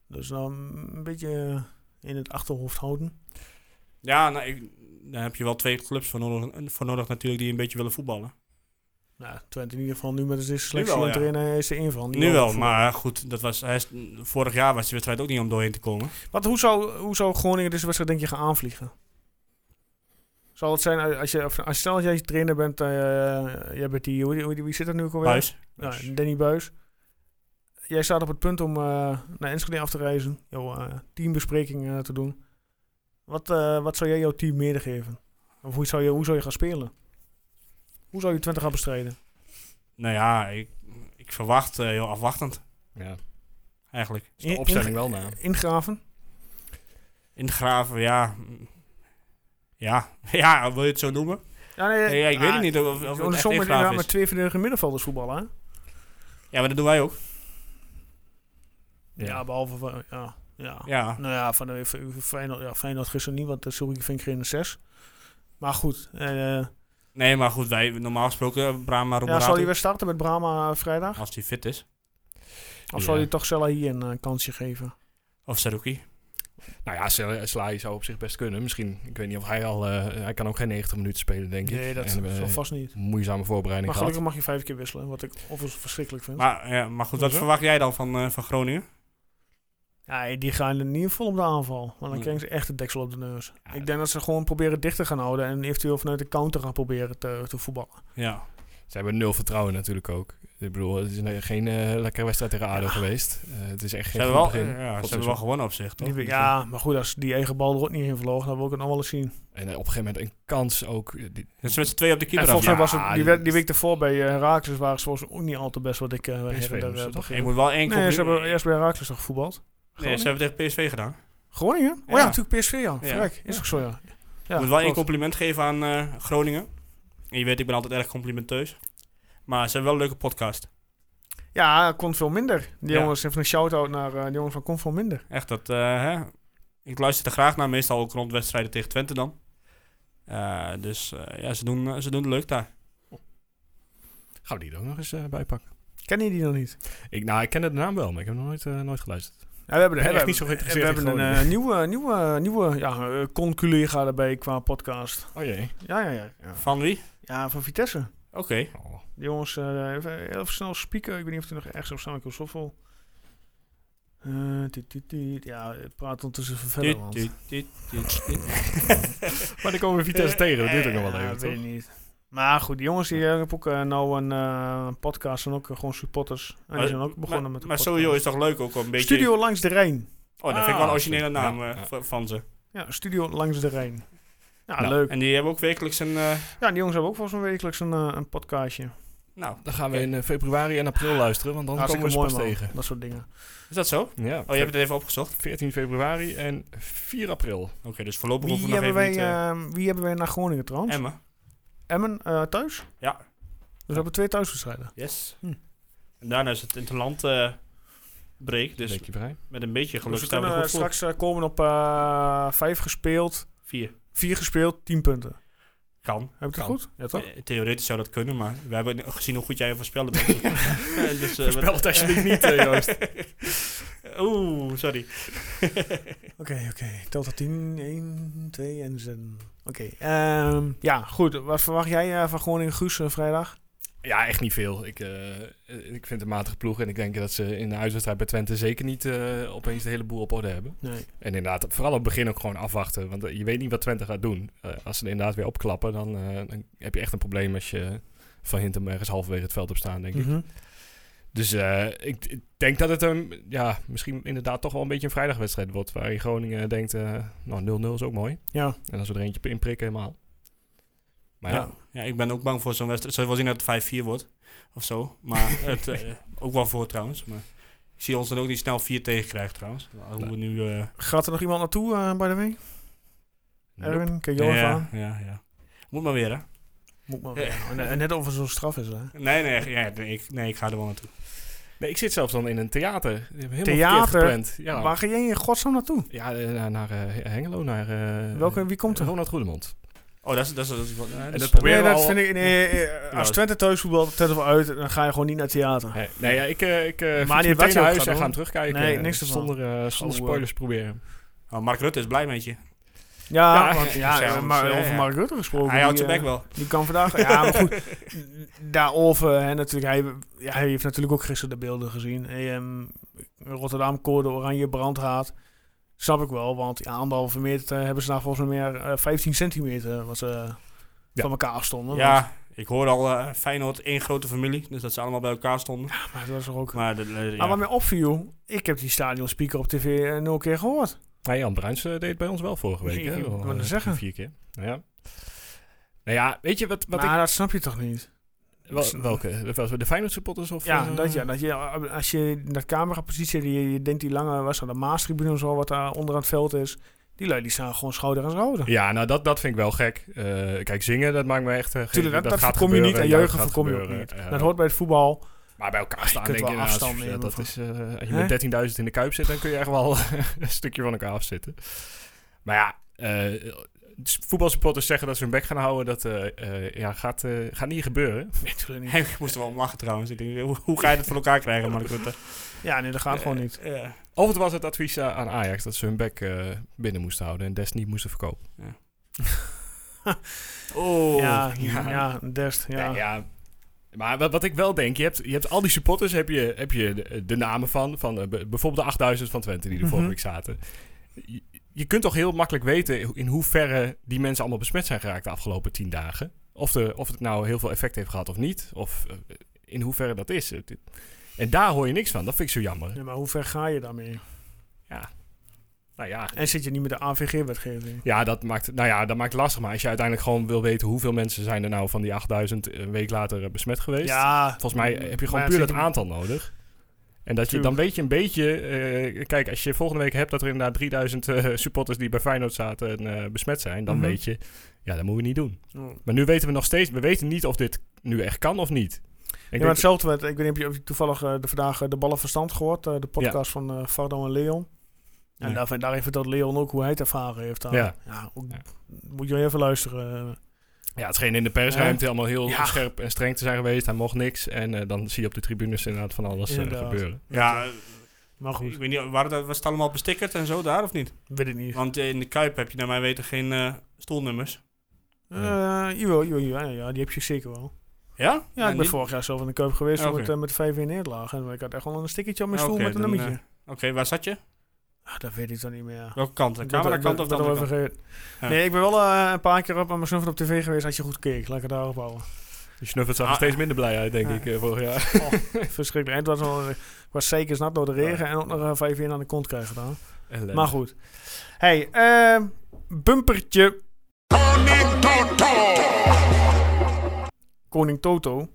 [SPEAKER 1] Dus nou een beetje eh, in het achterhoofd houden.
[SPEAKER 3] Ja, nou, ik, daar heb je wel twee clubs voor nodig, voor nodig natuurlijk die een beetje willen voetballen.
[SPEAKER 1] Nou, Twente in ieder geval nu met de selectie
[SPEAKER 3] Nu wel,
[SPEAKER 1] en erin eh, is er één van. Die
[SPEAKER 3] Nu wel,
[SPEAKER 1] voor-
[SPEAKER 3] maar goed, dat was, hij is- vorig jaar was die wedstrijd ook niet om doorheen te komen.
[SPEAKER 1] Wat, hoe, zou, hoe zou Groningen deze wedstrijd denk je gaan aanvliegen? Zal het zijn eh, als je, of als, stel dat jij trainer bent, eh, jij bent die, hoe die- hoe die- wie zit er nu ook alweer?
[SPEAKER 3] Buis.
[SPEAKER 1] Nou, Danny Buis. Jij staat op het punt om eh, naar Enschede af te reizen. Jouw eh, teambespreking eh, te doen. Wat, eh, wat zou jij jouw team medegeven? Of hoe zou, je, hoe zou je gaan spelen? Hoe zou je Twente gaan bestrijden?
[SPEAKER 3] Nou ja, ik, ik verwacht eh, heel afwachtend
[SPEAKER 2] ja.
[SPEAKER 3] eigenlijk.
[SPEAKER 2] Is de
[SPEAKER 1] In-
[SPEAKER 2] opstelling
[SPEAKER 1] in-
[SPEAKER 2] wel nou. na.
[SPEAKER 1] Ingraven?
[SPEAKER 3] Ingraven, ja. mm, Ja, ja, wil je het zo noemen?
[SPEAKER 1] Ja, nee,
[SPEAKER 3] Nee, ja, ik weet
[SPEAKER 1] ah,
[SPEAKER 3] het niet of, of
[SPEAKER 1] Zo'n
[SPEAKER 3] het echt
[SPEAKER 1] zomer
[SPEAKER 3] ingraven
[SPEAKER 1] inderdaad
[SPEAKER 3] is.
[SPEAKER 1] met twee verdedigende middenvelders voetballen, hè?
[SPEAKER 3] Ja, maar dat doen wij ook.
[SPEAKER 2] Ja.
[SPEAKER 1] Ja, behalve van... Ja, ja.
[SPEAKER 3] Ja,
[SPEAKER 1] Nou ja, van de, van- van Feyenoord, ja, Feyenoord gisteren niet, want uh, Sorry vind ik geen 6. Maar goed. eh,
[SPEAKER 3] nee, maar goed, wij normaal gesproken, eh, Brahma
[SPEAKER 1] ja, zal
[SPEAKER 3] Roemerato,
[SPEAKER 1] hij weer starten met Brahma eh, vrijdag?
[SPEAKER 3] als hij fit is.
[SPEAKER 1] Of
[SPEAKER 2] Ja.
[SPEAKER 1] zal je toch Sella hier een eh, kansje geven?
[SPEAKER 3] Of Saruki.
[SPEAKER 2] Nou ja, Sla- Slaai zou op zich best kunnen. Misschien, ik weet niet of hij al... eh, hij kan ook geen 90 minuten spelen, denk ik.
[SPEAKER 1] Nee, dat
[SPEAKER 2] En, eh,
[SPEAKER 1] zal vast niet.
[SPEAKER 2] Moeizame voorbereiding
[SPEAKER 1] Maar
[SPEAKER 2] gehad.
[SPEAKER 1] gelukkig mag je vijf keer wisselen, wat ik overigens verschrikkelijk vind.
[SPEAKER 3] Maar, ja, maar goed, wat
[SPEAKER 1] Hoezo?
[SPEAKER 3] verwacht jij dan van, eh, van Groningen?
[SPEAKER 1] ja, die gaan er niet vol op de aanval, want dan
[SPEAKER 3] Nee.
[SPEAKER 1] krijgen ze echt de deksel op de neus.
[SPEAKER 2] Mm. Ja,
[SPEAKER 1] ik denk dat ze gewoon proberen dicht te gaan houden en eventueel vanuit de counter gaan proberen te, te voetballen.
[SPEAKER 3] Ja,
[SPEAKER 2] Ze hebben nul vertrouwen natuurlijk ook. Ik bedoel, het is een- geen eh, lekkere wedstrijd tegen ADO geweest. Eh, het is echt
[SPEAKER 3] ze
[SPEAKER 2] geen
[SPEAKER 3] hebben,
[SPEAKER 2] goed
[SPEAKER 3] wel,
[SPEAKER 2] begin.
[SPEAKER 3] eh, ja, ze
[SPEAKER 2] Tot
[SPEAKER 3] hebben wel
[SPEAKER 2] seizoen.
[SPEAKER 3] gewonnen op zich, toch? Dus
[SPEAKER 1] Die we- ja, maar goed, als die eigen bal er ook niet in vloog, dan wil ik het nog wel eens zien.
[SPEAKER 2] En eh, op een gegeven moment een kans ook. eh, die-
[SPEAKER 3] Dus met z'n twee op de
[SPEAKER 1] en
[SPEAKER 3] keeper. af.
[SPEAKER 1] volgens mij
[SPEAKER 2] ja,
[SPEAKER 1] was het, die,
[SPEAKER 2] die-
[SPEAKER 1] wed- die week daarvoor bij eh, Heracles waren ze volgens mij ook niet al te best wat ik eh
[SPEAKER 2] PSV
[SPEAKER 1] her en der,
[SPEAKER 2] moesten
[SPEAKER 1] eh,
[SPEAKER 2] toch?
[SPEAKER 1] begreep.
[SPEAKER 3] Ik moet wel één
[SPEAKER 1] Nee, ze
[SPEAKER 3] compli-
[SPEAKER 1] hebben eerst bij Heracles nog gevoetbald.
[SPEAKER 3] nee, ze
[SPEAKER 1] Groningen?
[SPEAKER 3] hebben tegen PSV gedaan.
[SPEAKER 1] Groningen? Oh ja,
[SPEAKER 3] Ja.
[SPEAKER 1] natuurlijk PSV, ja.
[SPEAKER 3] Ja.
[SPEAKER 1] Verrek, is ook zo, ja. ja
[SPEAKER 3] ik moet wel één
[SPEAKER 1] klopt.
[SPEAKER 3] compliment geven aan eh, Groningen. En je weet, ik ben altijd erg complimenteus. Maar ze hebben wel een leuke podcast.
[SPEAKER 1] Ja, het kon veel minder. Die
[SPEAKER 3] Ja.
[SPEAKER 1] jongens, even een shout-out naar eh die jongens van Kon veel minder.
[SPEAKER 3] Echt, dat, eh, hè? ik luister er graag naar. Meestal ook rond wedstrijden tegen Twente dan. Eh, dus eh, ja, ze doen, eh, ze doen het leuk daar.
[SPEAKER 2] Gaan we die er ook nog eens eh bij pakken?
[SPEAKER 1] Ken je die nog niet?
[SPEAKER 2] Ik, nou, ik ken de naam wel, maar ik heb nog nooit, eh, nooit geluisterd.
[SPEAKER 1] Ja, we hebben,
[SPEAKER 2] ben
[SPEAKER 1] we
[SPEAKER 2] echt
[SPEAKER 1] hebben-
[SPEAKER 2] niet zo
[SPEAKER 1] we
[SPEAKER 2] geïnteresseerd in
[SPEAKER 1] hebben een
[SPEAKER 2] Groningen.
[SPEAKER 1] eh, nieuwe, nieuwe, nieuwe ja, eh, conculega daarbij qua podcast.
[SPEAKER 2] Oh jee.
[SPEAKER 1] Ja, ja, ja. Ja,
[SPEAKER 3] Van wie?
[SPEAKER 1] ja van Vitesse.
[SPEAKER 3] Oké.
[SPEAKER 2] Oh.
[SPEAKER 1] Die jongens, eh, even heel even snel spieken. Ik weet niet of hij nog ergens op staan. Ik wil zoveel. Eh, tiet, tiet, tiet. Ja, het praat ondertussen van verder.
[SPEAKER 3] Tuut,
[SPEAKER 1] want-
[SPEAKER 3] tuut, tuut, tuut, tuut.
[SPEAKER 2] Maar dan komen we Vitesse tegen. Dat duurt ook nog wel
[SPEAKER 1] Eh,
[SPEAKER 2] even,
[SPEAKER 1] ja, weet
[SPEAKER 2] toch?
[SPEAKER 1] ik niet. Maar goed, die jongens die hebben ook eh, nou een eh, podcast. En ook eh, gewoon supporters. En die zijn ook begonnen
[SPEAKER 3] maar,
[SPEAKER 1] met een
[SPEAKER 3] Maar
[SPEAKER 1] podcast.
[SPEAKER 3] sowieso is toch leuk ook wel een beetje...
[SPEAKER 1] Studio Langs de Rijn.
[SPEAKER 3] Oh, dat vind ik wel
[SPEAKER 2] Ah,
[SPEAKER 3] een originele
[SPEAKER 2] oké.
[SPEAKER 3] naam
[SPEAKER 2] Ja,
[SPEAKER 3] eh,
[SPEAKER 2] ja.
[SPEAKER 3] v- van ze.
[SPEAKER 1] Ja, Studio Langs de Rijn. Ja,
[SPEAKER 3] Nou,
[SPEAKER 1] leuk.
[SPEAKER 3] En die hebben ook wekelijks een... eh,
[SPEAKER 1] Ja, die jongens hebben ook volgens mij wekelijks een, eh, een podcastje.
[SPEAKER 3] nou,
[SPEAKER 2] Dan gaan we in eh, februari en
[SPEAKER 3] Ah.
[SPEAKER 2] april luisteren, want dan komen
[SPEAKER 1] Hartstikke
[SPEAKER 2] we
[SPEAKER 1] mooi,
[SPEAKER 2] pas
[SPEAKER 1] man.
[SPEAKER 2] tegen.
[SPEAKER 1] Dat soort dingen.
[SPEAKER 3] is dat zo? Oh,
[SPEAKER 2] Ja,
[SPEAKER 3] je hebt het even opgezocht.
[SPEAKER 2] 14 februari en 4 april.
[SPEAKER 3] Oké, dus voorlopig hoeven
[SPEAKER 1] Wie
[SPEAKER 3] we nog
[SPEAKER 1] hebben,
[SPEAKER 3] even
[SPEAKER 1] wij,
[SPEAKER 3] niet... eh,
[SPEAKER 1] eh, wie hebben wij naar Groningen trouwens?
[SPEAKER 3] Emma.
[SPEAKER 1] Emmen eh, thuis?
[SPEAKER 3] Ja.
[SPEAKER 1] Dus we hebben twee thuiswedstrijden.
[SPEAKER 3] Yes.
[SPEAKER 1] Hm.
[SPEAKER 3] En daarna is het interland eh break, dus
[SPEAKER 2] Dus je vrij.
[SPEAKER 3] met een beetje geluk
[SPEAKER 1] Dus we
[SPEAKER 3] staan we
[SPEAKER 1] kunnen
[SPEAKER 3] er
[SPEAKER 1] eh,
[SPEAKER 3] goed voor.
[SPEAKER 1] straks eh, komen op eh, vijf gespeeld,
[SPEAKER 3] Vier.
[SPEAKER 1] vier gespeeld, tien punten.
[SPEAKER 3] Kan.
[SPEAKER 1] Heb ik het
[SPEAKER 3] Kan.
[SPEAKER 1] goed? Ja, toch?
[SPEAKER 3] Eh, Theoretisch zou dat kunnen, maar we hebben gezien hoe goed jij een voorspeller bent. Eh, dus, eh, wat-
[SPEAKER 2] Spel het alsjeblieft niet, eh, Joost.
[SPEAKER 3] Oeh, sorry.
[SPEAKER 1] Oké, oké. Tel tot 10, 1, 2 en zin. Oké. ehm, ja, goed. Wat verwacht jij eh, van Groningen Guus eh, vrijdag?
[SPEAKER 2] Ja, echt niet veel. Ik, eh, eh, ik vind het een matige ploeg. En ik denk dat ze in de huiswedstrijd bij Twente zeker niet eh, opeens de hele boel op orde hebben.
[SPEAKER 1] Nee.
[SPEAKER 2] En inderdaad, vooral op het begin ook gewoon afwachten. Want eh, je weet niet wat Twente gaat doen. Eh, als ze er inderdaad weer opklappen, dan, eh, dan heb je echt een probleem als je van Hintem ergens halverwege het veld op staan, denk ik.
[SPEAKER 1] Mhm.
[SPEAKER 2] Dus eh, ik, ik denk dat het een, ja, misschien inderdaad toch wel een beetje een vrijdagwedstrijd wordt. Waarin Groningen denkt, eh, nou 0-0 is ook mooi.
[SPEAKER 1] Ja.
[SPEAKER 2] En als we er eentje inprikken, helemaal. Maar ja,
[SPEAKER 3] Ja. ja, ik ben ook bang voor zo'n wedstrijd. Zou je wel zien dat het 5-4 wordt of zo. Maar het, eh, ook wel voor trouwens. Maar ik zie ons dan ook niet snel 4 tegen krijgen trouwens. Hoe we nu. eh,
[SPEAKER 1] Gaat er nog iemand naartoe, eh by the way?
[SPEAKER 2] nope.
[SPEAKER 1] Erwin, kijk jou even
[SPEAKER 3] ja,
[SPEAKER 1] aan.
[SPEAKER 3] ja, ja. Moet maar weer, hè?
[SPEAKER 1] Moet maar
[SPEAKER 3] Ja.
[SPEAKER 1] weer. En, en net of het zo'n straf is, hè?
[SPEAKER 3] Nee, nee, ja, nee, ik, nee, ik ga er wel naartoe.
[SPEAKER 2] Nee, ik zit zelfs dan in een theater. Die hebben Helemaal
[SPEAKER 1] Theater?
[SPEAKER 2] verkeerd gepland. Ja,
[SPEAKER 1] Waar ga jij in godsnaam naartoe?
[SPEAKER 2] ja eh, naar, naar eh, Hengelo, naar... eh,
[SPEAKER 1] Welke, wie komt er?
[SPEAKER 2] Ronald Goedemond.
[SPEAKER 3] Oh, dat is. Dat is, dat is wel- ja, dat is-
[SPEAKER 2] proberen
[SPEAKER 1] Nee,
[SPEAKER 2] we
[SPEAKER 1] dat
[SPEAKER 2] al-
[SPEAKER 1] vind ik... Nee, eh, als
[SPEAKER 3] dat-
[SPEAKER 1] Twente thuis voetbalt, Twente wel uit, dan ga je gewoon niet naar het theater.
[SPEAKER 2] Nee, nee ja, ik, eh ik eh, fiets
[SPEAKER 1] niet wat
[SPEAKER 2] meteen
[SPEAKER 1] je
[SPEAKER 2] naar
[SPEAKER 1] ook gaat
[SPEAKER 2] huis en ga
[SPEAKER 1] doen.
[SPEAKER 2] hem terugkijken.
[SPEAKER 1] Nee,
[SPEAKER 2] eh,
[SPEAKER 1] niks ervan.
[SPEAKER 2] Zonder, eh, zonder
[SPEAKER 1] Oeh,
[SPEAKER 2] spoilers proberen.
[SPEAKER 3] oh, Mark Rutte is blij met je.
[SPEAKER 1] Ja,
[SPEAKER 2] Ja,
[SPEAKER 1] want ja,
[SPEAKER 3] zelfs,
[SPEAKER 1] maar
[SPEAKER 3] ja,
[SPEAKER 1] over
[SPEAKER 3] ja.
[SPEAKER 1] Mark Rutte gesproken.
[SPEAKER 3] Hij houdt
[SPEAKER 1] die,
[SPEAKER 3] zijn bek
[SPEAKER 1] eh,
[SPEAKER 3] wel.
[SPEAKER 1] Die kan vandaag. Ja, maar goed. Daarover, hè, natuurlijk, hij, ja, hij heeft natuurlijk ook gisteren de beelden gezien. Hey, ehm, Rotterdam, Code, Oranje, Brandhaat. Snap ik wel, want ja, anderhalve meter eh, hebben ze nou volgens mij meer eh, 15 centimeter wat ze eh, van elkaar afstonden. Want-
[SPEAKER 3] Ja, ik hoor al eh, Feyenoord één grote familie. Dus dat ze allemaal bij elkaar stonden.
[SPEAKER 1] ja, maar dat was toch ook.
[SPEAKER 3] Maar, de, eh, ja.
[SPEAKER 1] Maar wat mij opviel, ik heb die stadionspeaker op tv eh, nul keer gehoord.
[SPEAKER 2] Maar Jan Bruins eh, deed het bij ons wel vorige week.
[SPEAKER 1] Ik-
[SPEAKER 2] hè?
[SPEAKER 1] ik
[SPEAKER 2] Wel,
[SPEAKER 1] wou net
[SPEAKER 2] eh,
[SPEAKER 1] zeggen.
[SPEAKER 2] Vier keer. Nou ja. Nou ja, weet je wat, wat
[SPEAKER 1] maar dat snap je toch niet?
[SPEAKER 2] ik... wel- welke? Dat was De Feyenoord supporters? Of,
[SPEAKER 1] Ja,
[SPEAKER 2] eh,
[SPEAKER 1] dat, ja, dat je, eh, als je dat camerapositie, die, je denkt die lange, was dat de Maastribune of zo, wat daar onder aan het veld is. Die lui die staan gewoon schouder aan schouder.
[SPEAKER 2] Ja, nou dat, dat vind ik wel gek. Eh, kijk, zingen, dat maakt me echt... eh, geen-
[SPEAKER 1] Tuurlijk, dat, dat,
[SPEAKER 2] gaat
[SPEAKER 1] voorkom je niet
[SPEAKER 2] gebeuren,
[SPEAKER 1] en
[SPEAKER 2] ja,
[SPEAKER 1] jeugd
[SPEAKER 2] dat gaat
[SPEAKER 1] voorkom je ook
[SPEAKER 2] gebeuren,
[SPEAKER 1] niet.
[SPEAKER 2] ja.
[SPEAKER 1] Dat hoort bij het voetbal.
[SPEAKER 2] Maar bij elkaar
[SPEAKER 1] Ah, je
[SPEAKER 2] staan,
[SPEAKER 1] kunt
[SPEAKER 2] denk ik,
[SPEAKER 1] wel
[SPEAKER 2] ja,
[SPEAKER 1] afstand
[SPEAKER 2] als-
[SPEAKER 1] nemen
[SPEAKER 2] dat
[SPEAKER 1] van-
[SPEAKER 2] is, eh, als je
[SPEAKER 1] Hè?
[SPEAKER 2] met 13.000 in de kuip zit, dan kun je echt wel een stukje van elkaar afzitten. Maar ja, eh, s- voetbalsupporters zeggen dat ze hun bek gaan houden. Dat eh, eh, ja, gaat, eh, gaat niet gebeuren.
[SPEAKER 1] natuurlijk niet.
[SPEAKER 3] Hey, ik moest er wel om lachen trouwens. Ik denk, hoe, hoe ga je dat voor elkaar krijgen, Mark Rutte?
[SPEAKER 1] Ja, nee, dat gaat gewoon niet.
[SPEAKER 3] Ja.
[SPEAKER 2] Of het was het advies eh, aan Ajax dat ze hun bek eh, binnen moesten houden en Des niet moesten verkopen.
[SPEAKER 3] Oh,
[SPEAKER 1] ja, ja, Dest. Ja.
[SPEAKER 2] Nee, ja. Maar wat, wat ik wel denk, je hebt, je hebt al die supporters, heb je, heb je de, de namen van, van eh, b- bijvoorbeeld de 8000 van Twente die er vorige
[SPEAKER 1] Mhm.
[SPEAKER 2] week zaten. Je, je kunt toch heel makkelijk weten in hoeverre die mensen allemaal besmet zijn geraakt de afgelopen 10 dagen. Of, de, of het nou heel veel effect heeft gehad of niet, of eh, in hoeverre dat is. Het- En daar hoor je niks van, dat vind ik zo jammer.
[SPEAKER 1] Ja, maar hoe ver ga je daarmee?
[SPEAKER 2] Nou ja,
[SPEAKER 1] En zit je niet met de AVG-wetgeving?
[SPEAKER 2] Ja, dat maakt, nou ja, dat maakt het lastig. Maar als je uiteindelijk gewoon wil weten hoeveel mensen zijn er nou van die 8000 een week later eh, besmet geweest.
[SPEAKER 1] Ja,
[SPEAKER 2] Volgens mij heb je gewoon
[SPEAKER 1] Maar
[SPEAKER 2] puur
[SPEAKER 1] ja,
[SPEAKER 2] dat
[SPEAKER 1] zit je-
[SPEAKER 2] aantal nodig. En dat je, dan
[SPEAKER 1] Tuurlijk.
[SPEAKER 2] weet je een beetje... eh, kijk, als je volgende week hebt dat er inderdaad 3000 eh, supporters die bij Feyenoord zaten en, eh, besmet zijn, dan
[SPEAKER 1] Mhm.
[SPEAKER 2] weet je, ja, dat moeten we niet doen.
[SPEAKER 1] Oh.
[SPEAKER 2] Maar nu weten we nog steeds, we weten niet of dit nu echt kan of niet.
[SPEAKER 1] Ja,
[SPEAKER 2] Ik
[SPEAKER 1] maar
[SPEAKER 2] denk,
[SPEAKER 1] hetzelfde werd, ik weet niet of je- of je toevallig eh, de, vandaag eh, de Ballen Verstand gehoord, eh, de podcast van eh Vardo en Leon. En
[SPEAKER 3] Nee.
[SPEAKER 1] daarvan, daarin vertelt Leon ook hoe hij het ervaren heeft. daar.
[SPEAKER 2] Ja.
[SPEAKER 1] ook-
[SPEAKER 2] Ja.
[SPEAKER 1] Moet je wel even luisteren. eh.
[SPEAKER 2] ja, het scheen in de persruimte allemaal heel
[SPEAKER 1] Ja.
[SPEAKER 2] scherp en streng te zijn geweest. Hij mocht niks. En eh, dan zie je op de tribunes inderdaad van alles eh,
[SPEAKER 1] Inderdaad.
[SPEAKER 2] gebeuren.
[SPEAKER 3] ja, eh,
[SPEAKER 1] Maar goed,
[SPEAKER 3] Ik weet niet, waren dat, was het allemaal bestickerd en zo daar of niet?
[SPEAKER 1] weet ik niet.
[SPEAKER 3] Want in de Kuip heb je naar mijn weten geen eh, stoelnummers.
[SPEAKER 1] Eh jawel, jawel, jawel, ja, ja, die heb je zeker wel.
[SPEAKER 3] Ja?
[SPEAKER 1] Ja, ik ben
[SPEAKER 3] niet-
[SPEAKER 1] vorig jaar zelf in de Kuip geweest
[SPEAKER 3] Oké.
[SPEAKER 1] met, eh, met 5 in nederlaag. En ik had echt wel een stickertje op mijn stoel
[SPEAKER 3] Oké,
[SPEAKER 1] met een
[SPEAKER 3] dan,
[SPEAKER 1] nummertje.
[SPEAKER 3] Oké, waar zat je?
[SPEAKER 1] Ah, dat weet ik dan niet meer.
[SPEAKER 3] Welke kant? De
[SPEAKER 1] Ik ben-
[SPEAKER 3] camerakant
[SPEAKER 1] ben-
[SPEAKER 3] of de
[SPEAKER 1] ben
[SPEAKER 3] andere
[SPEAKER 1] alweer
[SPEAKER 3] kant?
[SPEAKER 1] vergeten.
[SPEAKER 3] Ja.
[SPEAKER 1] Nee, ik ben wel eh, een paar keer op aan mijn snuffer op tv geweest. Had je goed gekeken, laat ik het daarop houden.
[SPEAKER 2] Je snuffert zag er
[SPEAKER 3] Ah.
[SPEAKER 2] steeds minder blij uit, denk
[SPEAKER 1] Ja.
[SPEAKER 2] ik, eh, vorig jaar.
[SPEAKER 1] Verschrikkelijk. En het was, wel, ik was zeker snap door de regen en ook nog eh, vijf in aan de kont krijgen gedaan. Maar goed. Hey, eh, bumpertje. Koning Toto.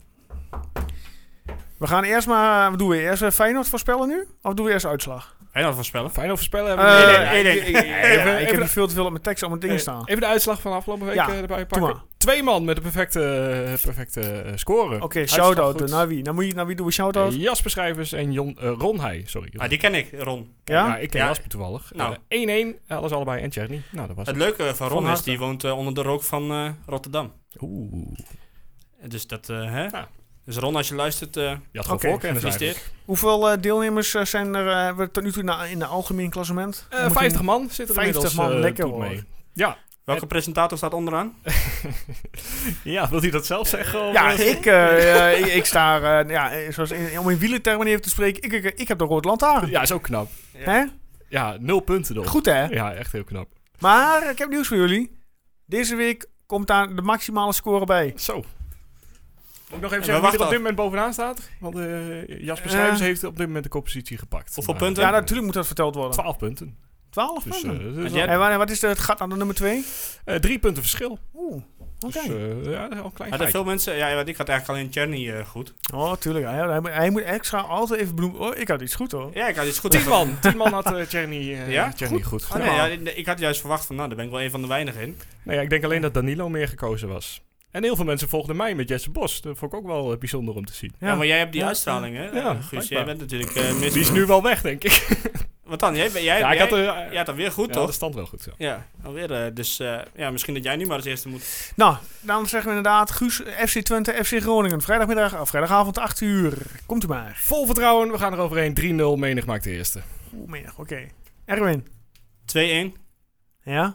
[SPEAKER 1] We gaan eerst maar... Wat doen we eerst? eh, Feyenoord voorspellen nu? Of doen we eerst uitslag?
[SPEAKER 3] Feyenoord voorspellen.
[SPEAKER 2] Fijn of voorspellen hebben we.
[SPEAKER 1] Eh,
[SPEAKER 2] Nee, nee, nee.
[SPEAKER 1] ik- ik-
[SPEAKER 2] Even-
[SPEAKER 1] ja, Ik
[SPEAKER 2] even
[SPEAKER 1] heb
[SPEAKER 2] de-
[SPEAKER 1] hier veel te veel op mijn tekst op mijn dingen
[SPEAKER 2] Eh,
[SPEAKER 1] staan. Oké,
[SPEAKER 2] Even de uitslag van afgelopen week
[SPEAKER 1] Ja,
[SPEAKER 2] eh, erbij
[SPEAKER 1] doe
[SPEAKER 2] pakken. Twee man met een perfecte, eh, perfecte eh, score. Uitslag
[SPEAKER 1] shout-out.
[SPEAKER 2] goed. Eh,
[SPEAKER 1] Naar wie? Naar wie, naar wie doen we shout-out?
[SPEAKER 2] Jasper Schrijvers en Jon, eh, Ron Heij, sorry.
[SPEAKER 3] Ah, die ken ik, Ron.
[SPEAKER 2] ja?
[SPEAKER 1] Ja?
[SPEAKER 2] ik ken
[SPEAKER 3] Ja.
[SPEAKER 2] Jasper toevallig.
[SPEAKER 3] Nou.
[SPEAKER 2] Nou. 1-1, alles allebei en Cherny. Nou, dat was
[SPEAKER 3] Het
[SPEAKER 2] het.
[SPEAKER 3] leuke van Ron
[SPEAKER 1] Van
[SPEAKER 3] is, die woont eh, onder de rook van eh, Rotterdam.
[SPEAKER 2] Oeh.
[SPEAKER 3] Dus dat, eh, hè?
[SPEAKER 2] Ja.
[SPEAKER 3] Dus Ron, als je luistert, eh
[SPEAKER 2] Je had gewoon
[SPEAKER 1] Oké,
[SPEAKER 2] voorkennis
[SPEAKER 3] gefeliciteerd.
[SPEAKER 2] eigenlijk.
[SPEAKER 1] Hoeveel eh, deelnemers eh, zijn er eh, we tot nu toe na- in de algemeen klassement?
[SPEAKER 2] Eh,
[SPEAKER 1] Moet
[SPEAKER 2] 50 man zitten er
[SPEAKER 1] 50
[SPEAKER 2] inmiddels
[SPEAKER 1] man,
[SPEAKER 2] eh,
[SPEAKER 1] lekker
[SPEAKER 2] goed
[SPEAKER 1] hoor.
[SPEAKER 2] mee.
[SPEAKER 3] Welke presentator staat onderaan?
[SPEAKER 2] Ja, wil hij dat zelf zeggen?
[SPEAKER 1] ik-
[SPEAKER 2] of-
[SPEAKER 1] Ja, ik, eh, eh, ik, ik sta, eh, ja, eh, zoals in, om in wielertermen even te spreken, ik, ik, ik heb de rood lantaarn.
[SPEAKER 2] ja, is ook knap.
[SPEAKER 1] Hè?
[SPEAKER 2] Ja, nul punten dan.
[SPEAKER 1] Goed hè?
[SPEAKER 2] Ja, echt heel knap.
[SPEAKER 1] Maar ik heb nieuws voor jullie. Deze week komt daar de maximale score bij.
[SPEAKER 2] Zo. Moet ik nog even
[SPEAKER 3] we
[SPEAKER 2] zeggen wie er
[SPEAKER 3] wachten
[SPEAKER 2] op
[SPEAKER 3] af.
[SPEAKER 2] dit moment bovenaan staat? Want eh, Jasper
[SPEAKER 1] Eh.
[SPEAKER 2] Schrijvers heeft op dit moment de koppositie gepakt.
[SPEAKER 3] Hoeveel
[SPEAKER 2] Maar,
[SPEAKER 3] punten?
[SPEAKER 1] Ja,
[SPEAKER 2] eh,
[SPEAKER 1] natuurlijk moet dat verteld worden.
[SPEAKER 2] 12 punten.
[SPEAKER 1] 12
[SPEAKER 2] Dus,
[SPEAKER 1] punten.
[SPEAKER 2] eh, dat is
[SPEAKER 3] jij-
[SPEAKER 2] al-
[SPEAKER 1] en wa- wat is de, het gat aan de nummer 2?
[SPEAKER 2] eh, drie punten verschil.
[SPEAKER 1] Oeh, oké.
[SPEAKER 2] Dus eh, ja, dat is al een klein
[SPEAKER 3] Hadden
[SPEAKER 2] gelijk.
[SPEAKER 3] veel mensen... Ja, want ik had eigenlijk alleen Cherny eh, goed.
[SPEAKER 1] Oh, tuurlijk. Hij, hij, moet- hij moet extra altijd even benoemen. Oh, ik had iets goed hoor.
[SPEAKER 3] Ja, ik had iets goed.
[SPEAKER 2] Tien man. Tien man had eh Tjerny eh,
[SPEAKER 3] Ja?
[SPEAKER 2] Tjerny goed.
[SPEAKER 3] Ah, nee, ja, ik had juist verwacht van, nou, daar ben ik wel een van de weinigen in.
[SPEAKER 2] Nee, ja, ik denk alleen dat Danilo meer gekozen was. En heel veel mensen volgden mij met Jesse Bos. Dat vond ik ook wel eh, bijzonder om te zien.
[SPEAKER 1] Ja.
[SPEAKER 3] Ja, maar jij hebt die
[SPEAKER 1] Ja.
[SPEAKER 3] uitstraling, hè?
[SPEAKER 2] Ja,
[SPEAKER 3] Ja, Guus,
[SPEAKER 2] blijkbaar.
[SPEAKER 3] jij bent natuurlijk eh mis.
[SPEAKER 2] Die is nu wel weg, denk ik.
[SPEAKER 3] Wat dan? Jij, jij,
[SPEAKER 2] ja, ik had,
[SPEAKER 3] jij,
[SPEAKER 2] eh,
[SPEAKER 3] jij had dat weer goed,
[SPEAKER 2] ja,
[SPEAKER 3] toch?
[SPEAKER 2] de stand wel goed. Ja.
[SPEAKER 3] Ja, alweer. eh, dus eh, ja, misschien dat jij nu maar als eerste moet.
[SPEAKER 1] Nou, dan zeggen we inderdaad Guus, FC Twente, FC Groningen. Vrijdagmiddag, of vrijdagavond, 8 uur. Komt u maar.
[SPEAKER 2] Vol vertrouwen, we gaan er overheen. 3-0, menig maakt de eerste.
[SPEAKER 1] Oeh, menig, oké. Erwin.
[SPEAKER 3] 2-1,
[SPEAKER 1] Ja?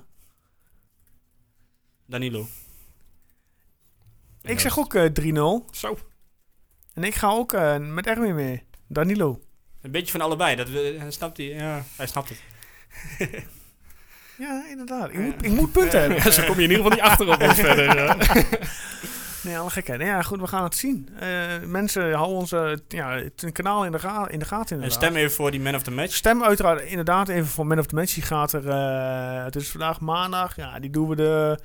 [SPEAKER 3] Danilo.
[SPEAKER 1] Ik zeg ook eh, 3-0.
[SPEAKER 2] Zo.
[SPEAKER 1] En ik ga ook eh, met Erwin mee. Danilo.
[SPEAKER 3] Een beetje van allebei. Dat, we- hij snapt die, ja, hij snapt het.
[SPEAKER 1] Ja, inderdaad. Ik moet, ik moet punten hebben.
[SPEAKER 2] Ja, zo kom je in ieder geval niet achter op ons verder. eh.
[SPEAKER 1] Nee, alle gekheid. Nou ja, goed, we gaan het zien. Eh, mensen, hou ons eh, t- ja, het kanaal in de, ga in de gaten
[SPEAKER 3] En
[SPEAKER 1] inderdaad.
[SPEAKER 3] stem even voor die man of the match.
[SPEAKER 1] Stem uiteraard inderdaad even voor Man of the Match. Die gaat er, eh, het is vandaag maandag. Ja, die doen we de